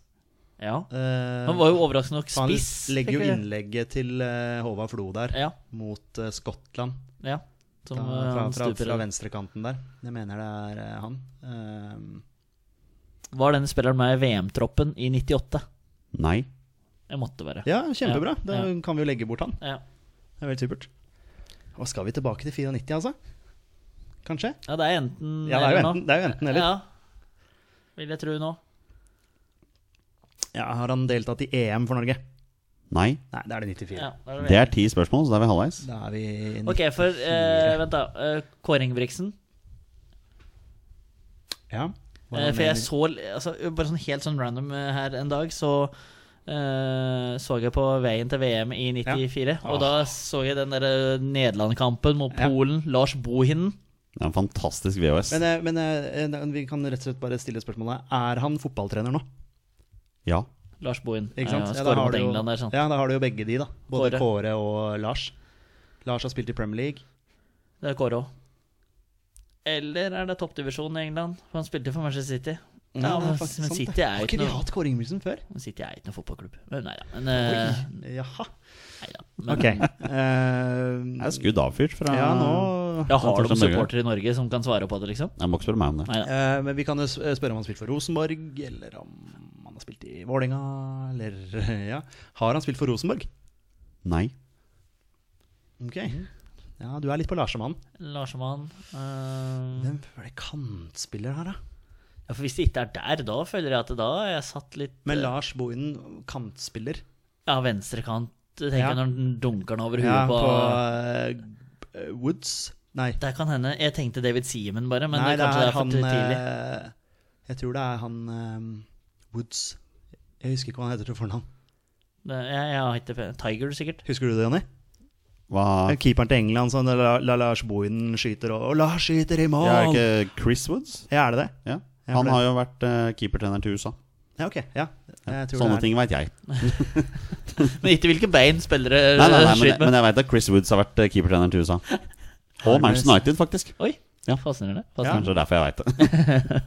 Speaker 2: Ja.
Speaker 3: eh,
Speaker 2: Han var jo overraskende nok
Speaker 3: så han
Speaker 2: spiss.
Speaker 3: legger
Speaker 2: fikk
Speaker 3: jo
Speaker 2: vi-
Speaker 3: innlegget til eh, Håvard Flo der
Speaker 2: Ja,
Speaker 3: mot eh, Skottland.
Speaker 2: ja. Som
Speaker 3: Da,
Speaker 2: eh,
Speaker 3: fra,
Speaker 2: han
Speaker 3: fra,
Speaker 2: stuper
Speaker 3: fra
Speaker 2: i.
Speaker 3: venstrekanten der. Jeg mener det er eh, han. Ehm,
Speaker 2: Var denne spilleren med i VM-troppen i 98?
Speaker 1: Nei.
Speaker 2: Jeg måtte være.
Speaker 3: ja, kjempebra. Da
Speaker 2: Ja.
Speaker 3: kan vi jo legge bort han.
Speaker 2: Ja.
Speaker 3: Det er veldig supert. Og skal vi tilbake til 94, altså? Kanskje?
Speaker 2: Ja, det er enten
Speaker 3: Ja, det er jo
Speaker 2: eller nå.
Speaker 3: enten, det er jo enten eller.
Speaker 2: Mm, Ja. Vil jeg tro nå.
Speaker 3: Ja, har han deltatt i EM for Norge?
Speaker 1: Nei.
Speaker 3: Nei, da er det 94.
Speaker 2: Ja, da
Speaker 1: Det
Speaker 2: vi.
Speaker 1: er ti spørsmål, så da er vi halvveis.
Speaker 3: Da er vi i
Speaker 2: Ok, for eh, Vent, da. eh, Kåre Ingebrigtsen.
Speaker 3: Ja. Hva
Speaker 2: Eh, for
Speaker 3: mener-
Speaker 2: jeg så altså, Bare sånn helt sånn random eh, her en dag, så eh, så jeg på veien til VM i 94. Og da så jeg den derre Nederland-kampen mot
Speaker 3: Ja.
Speaker 2: Polen. Lars Bohinen. det
Speaker 1: Det er en fantastisk VHS.
Speaker 3: Men, eh, men eh, eh, vi kan rett og slett bare stille spørsmålet Er han fotballtrener nå?
Speaker 1: Ja.
Speaker 2: Lars Bohin.
Speaker 3: Ikke sant?
Speaker 2: Ja,
Speaker 3: Ja, da
Speaker 2: Skårer
Speaker 3: har
Speaker 2: mot
Speaker 3: du jo-
Speaker 2: England der, sånn.
Speaker 3: Ja, da har du jo begge de, da. Både
Speaker 2: Kåre.
Speaker 3: Kåre, og Lars. Lars har spilt i Premier League.
Speaker 2: Det er Kåre òg. Eller er det toppdivisjonen i England? For han spilte for Manchester City. Ja,
Speaker 3: det er
Speaker 2: men,
Speaker 3: faktisk
Speaker 2: men
Speaker 3: Mm. sant, det.
Speaker 2: City er
Speaker 3: Har
Speaker 2: jo ikke
Speaker 3: ikke vi
Speaker 2: noe
Speaker 3: hatt Kåre Ingebrigtsen før?
Speaker 2: Men City er ikke noen fotballklubb. Men nei da. Men, eh,
Speaker 3: Jaha.
Speaker 2: nei da. Men
Speaker 3: Ok.
Speaker 1: Det
Speaker 3: Eh,
Speaker 1: er skudd avfyrt fra
Speaker 3: ja, nå
Speaker 2: da har
Speaker 1: Torstein
Speaker 2: de
Speaker 1: Børge.
Speaker 2: supportere i Norge som kan svare på det, liksom?
Speaker 1: Jeg må ikke spørre meg om det.
Speaker 2: Nei da.
Speaker 3: Eh, Men vi kan jo s- spørre om han har spilt for Rosenborg, eller om han har spilt i Vålinga, eller Ja. Har han spilt for Rosenborg?
Speaker 1: Nei.
Speaker 3: Ok.
Speaker 2: Mhm.
Speaker 3: Ja, du er litt på Larsemann.
Speaker 2: Larsemann eh,
Speaker 3: Hvem var det kantspiller her, da?
Speaker 2: ja, For hvis det ikke er der, da føler jeg at da har jeg satt litt
Speaker 3: Men Lars Bohinen, kantspiller.
Speaker 2: Ja, venstrekant, tenker
Speaker 3: Ja.
Speaker 2: jeg, når den dunker den over huet
Speaker 3: Ja,
Speaker 2: på,
Speaker 3: på eh, Woods. Nei.
Speaker 2: Det kan hende. Jeg tenkte David Seaman, bare, men
Speaker 3: Nei,
Speaker 2: det, kanskje det er for tidlig.
Speaker 3: eh, Jeg tror det er han eh, Woods. Jeg husker ikke hva han heter til fornavn.
Speaker 2: Det, jeg, jeg har ikke pe- Tiger, sikkert.
Speaker 3: Husker du det, Jonny? Eh,
Speaker 1: Hva
Speaker 3: Keeperen til England som la, la Lars Bohinen skyter, og, og Lars skyter i mål!
Speaker 1: ja,
Speaker 3: Ja,
Speaker 1: Er ikke Chris Woods?
Speaker 3: er det det?
Speaker 1: Ja.
Speaker 3: Ja, for
Speaker 1: Han
Speaker 3: det-
Speaker 1: har jo vært eh, keepertrener til USA.
Speaker 3: Ja, ok. Ja. Jeg tror
Speaker 1: Sånne
Speaker 3: det er.
Speaker 1: ting veit jeg.
Speaker 2: Men ikke hvilke bein
Speaker 1: Nei,
Speaker 2: spillere
Speaker 1: nei, nei, men,
Speaker 2: skyter Eh, med.
Speaker 1: men jeg veit at Chris Woods har vært eh, keepertrener til USA. Og Manchester United, faktisk.
Speaker 2: Oi,
Speaker 1: Ja.
Speaker 2: fascinerende.
Speaker 1: Kanskje
Speaker 2: fascinerende.
Speaker 1: det er derfor jeg veit det.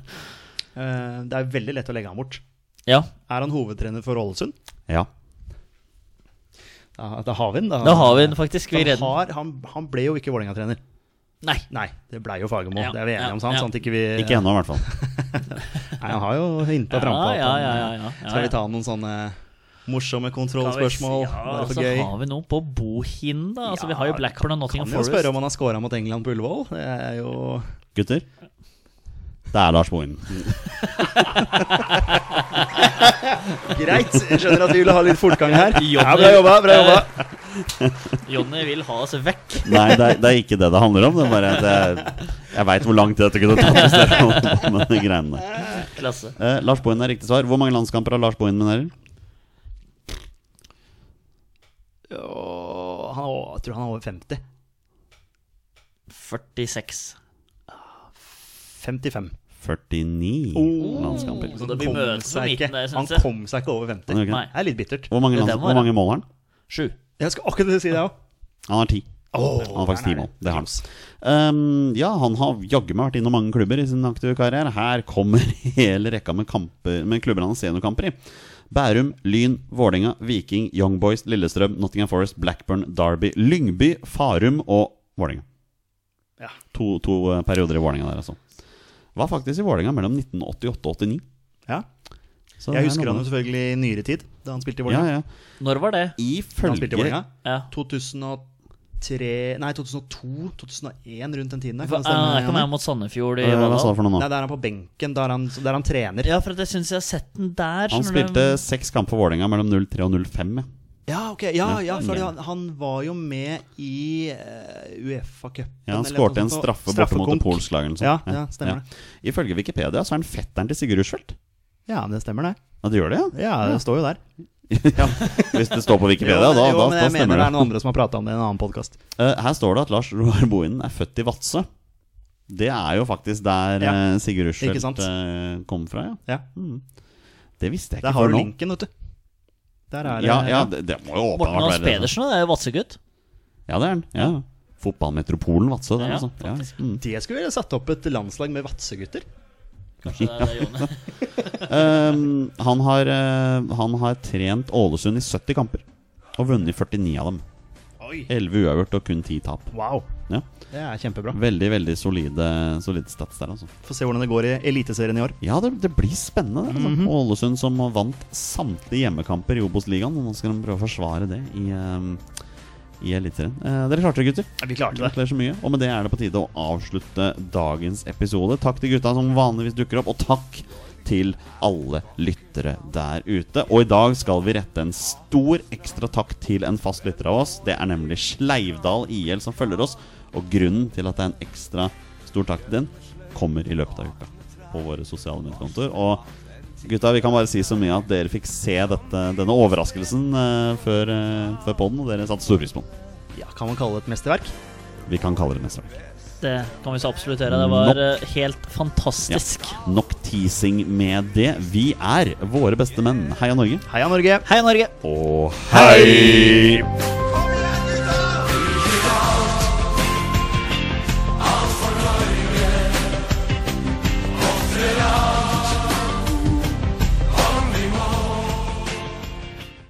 Speaker 3: Eh, det er veldig lett å legge ham bort.
Speaker 2: Ja.
Speaker 3: Er han hovedtrener for Ålesund?
Speaker 1: Ja.
Speaker 3: Da, da har vi den.
Speaker 2: Da har vi den faktisk. Vi
Speaker 3: Da
Speaker 2: redder den.
Speaker 3: har, han, han ble jo ikke Vålerenga-trener.
Speaker 2: Nei.
Speaker 3: Nei, det blei jo Fagermo.
Speaker 2: Ja,
Speaker 3: Det er vi enige
Speaker 2: ja,
Speaker 3: om, sant?
Speaker 2: ja.
Speaker 3: Sånn at ikke vi
Speaker 1: Ikke ennå, i hvert fall.
Speaker 3: Nei, han har jo hinta
Speaker 2: Ja,
Speaker 3: frampå.
Speaker 2: ja, ja, ja, ja, ja.
Speaker 3: Skal vi ta noen sånne morsomme kontrollspørsmål?
Speaker 2: Ja,
Speaker 3: Bare
Speaker 2: og
Speaker 3: for
Speaker 2: så
Speaker 3: gøy.
Speaker 2: har vi noe på bohinden, da. Altså, vi
Speaker 3: Ja,
Speaker 2: har jo Blackburn og Nottingham
Speaker 3: Kan jo spørre
Speaker 2: Forest.
Speaker 3: om han har scora mot England på Ullevål. Det er jo
Speaker 1: Gutter, det er Lars Bohinen.
Speaker 3: greit. Jeg skjønner at vi vil ha litt fortgang her. Ja,
Speaker 2: Jonny-
Speaker 3: bra jobba, bra jobba.
Speaker 2: Jonny vil ha oss vekk.
Speaker 1: Nei, det er, det er ikke det det handler om. Det er bare at jeg, jeg veit hvor lang tid dette kunne tatt. Hvis dere holdt på med de greiene der.
Speaker 2: Klasse.
Speaker 1: Eh, Lars Bohinen er riktig svar. Hvor mange landskamper har Lars Bohinen med dere?
Speaker 3: Åh, Han er, jeg tror han er over 50.
Speaker 2: 46.
Speaker 3: 55.
Speaker 1: 49 landskamper.
Speaker 2: Så da blir møtet på
Speaker 3: ikke,
Speaker 2: midten der,
Speaker 3: han
Speaker 2: syns jeg.
Speaker 3: kom seg ikke over 50.
Speaker 1: Han gjør ikke
Speaker 2: Nei.
Speaker 1: det.
Speaker 3: Det er litt bittert.
Speaker 1: Hvor mange,
Speaker 2: Det
Speaker 1: lands,
Speaker 2: var
Speaker 1: hvor
Speaker 2: det.
Speaker 1: mange mål har han?
Speaker 2: Sju.
Speaker 3: Jeg skal akkurat si det òg.
Speaker 1: Han har ti. Han har faktisk ti mål. Det har han. Ehm, ja, han har jaggu meg vært innom mange klubber i sin aktive karriere. Her kommer hele rekka med, kamper, med klubber han har seniorkamper i. Bærum, Lyn, Vålerenga, Viking, Young Boys, Lillestrøm, Nottingham Forest, Blackburn, Derby, Lyngby, Farum og Vålerenga.
Speaker 3: Ja.
Speaker 1: To, to eh, perioder i Vålerenga der, altså. Var faktisk i Vålerenga mellom 1988 og 89.
Speaker 3: Ja.
Speaker 1: Så det er
Speaker 3: Jeg husker
Speaker 1: noe
Speaker 3: han jo
Speaker 1: med-
Speaker 3: selvfølgelig i nyere tid, da han spilte
Speaker 1: ja,
Speaker 3: i Vålerenga.
Speaker 1: ja.
Speaker 2: Når var det?
Speaker 3: Da han spilte i
Speaker 1: Ifølge
Speaker 3: Vålerenga.
Speaker 2: Ja.
Speaker 3: 2003 Nei, 2002, 2001, rundt den tiden der.
Speaker 2: For,
Speaker 3: Kan
Speaker 2: ah,
Speaker 3: det stemme?
Speaker 2: jeg kom
Speaker 3: Janne?
Speaker 2: jeg mot Sandefjord i
Speaker 1: Eh, Hva sa
Speaker 2: Valhall.
Speaker 1: du for noe
Speaker 3: Nei,
Speaker 1: nå?
Speaker 3: der er han på benken, der han, der han trener. Ja,
Speaker 2: Ja, for at jeg syns jeg har sett den der.
Speaker 1: Han
Speaker 2: skjønner du?
Speaker 1: spilte seks kamper for Vålerenga mellom 03 og 05. ja.
Speaker 3: ok, ja, ja for han, han var jo med i eh, Uefa-cupen.
Speaker 1: Ja, Han
Speaker 3: eller
Speaker 1: skårte
Speaker 3: noe
Speaker 1: en
Speaker 3: sånt, og-
Speaker 1: straffe borte mot
Speaker 3: straffekonk.
Speaker 1: det polske laget. eller noe sånt.
Speaker 3: Ja, ja, stemmer det.
Speaker 1: Ifølge Wikipedia så er han fetteren til Sigurd Rushfeldt.
Speaker 3: Ja, men det stemmer, det.
Speaker 1: Ja, det gjør det, ja?
Speaker 3: Ja, det står jo der.
Speaker 1: ja. Hvis det står på Wikipedia,
Speaker 3: Jo, men-
Speaker 1: da,
Speaker 3: jo,
Speaker 1: da,
Speaker 3: men
Speaker 1: da
Speaker 3: jeg mener
Speaker 1: stemmer
Speaker 3: det
Speaker 1: det.
Speaker 3: er noen andre som har prata om det i en annen podkast.
Speaker 1: Eh, her står det at Lars Roar Bohinen er født i Vadsø. Det er jo faktisk der
Speaker 3: Ja,
Speaker 1: eh, Sigurd
Speaker 3: ikke sant?
Speaker 1: Rushfeldt eh, kom fra, ja.
Speaker 3: Ja.
Speaker 1: Mm. Det visste jeg
Speaker 3: Der
Speaker 1: ikke
Speaker 3: har
Speaker 1: før
Speaker 3: du
Speaker 1: nå.
Speaker 3: linken, eh, vet du. Der er det
Speaker 1: Ja, ja, det, det må jo
Speaker 2: Morten Hans
Speaker 1: åpenbart være det.
Speaker 2: Pedersen det er jo Vadsø-gutt.
Speaker 1: Ja, det er han. Ja. Fotballmetropolen Vadsø, det,
Speaker 2: Ja,
Speaker 1: altså. Ja. Mm.
Speaker 3: Det skulle vi satt opp et landslag med Vadsø-gutter.
Speaker 2: Kanskje det er det, Jonny.
Speaker 1: Ehm, han, har, eh, han har trent Ålesund i 70 kamper og vunnet 49 av dem.
Speaker 3: Oi.
Speaker 1: 11 uavgjort og kun 10 tap.
Speaker 3: Wow.
Speaker 1: Ja.
Speaker 3: Det er kjempebra.
Speaker 1: Veldig, veldig solide, solide stats der, altså.
Speaker 3: Får se hvordan det går i Eliteserien i år.
Speaker 1: Ja, det, det blir spennende. det, Altså.
Speaker 2: Mhm.
Speaker 1: Ålesund som vant samtlige hjemmekamper i Obos-ligaen. og Nå skal de prøve å forsvare det i, um, i Eliteserien. Eh, dere klarte det, gutter.
Speaker 3: Vi klarte det.
Speaker 1: Gratulerer så mye. Og med det er det på tide å avslutte dagens episode. Takk til gutta som vanligvis dukker opp, og takk til alle lyttere der ute. Og i dag skal vi rette en stor ekstra takk til en fast lytter av oss. Det er nemlig Sleivdal IL som følger oss. Og grunnen til at det er en ekstra stor takk til den, kommer i løpet av uka på våre sosiale mediekontoer. Og Gutta, vi kan bare si så mye at dere fikk se dette, denne overraskelsen eh, før, uh, før podden, og dere satte stor pris på den.
Speaker 3: Ja, kan man kalle det et mesterverk?
Speaker 1: Vi kan kalle det mesterverk.
Speaker 2: Det kan vi så absolutt gjøre. Det var eh, helt fantastisk.
Speaker 1: Nok teasing med det. Vi er våre beste menn. Heia Norge.
Speaker 3: Heia Norge!
Speaker 2: Hei, Norge!
Speaker 1: Og hei!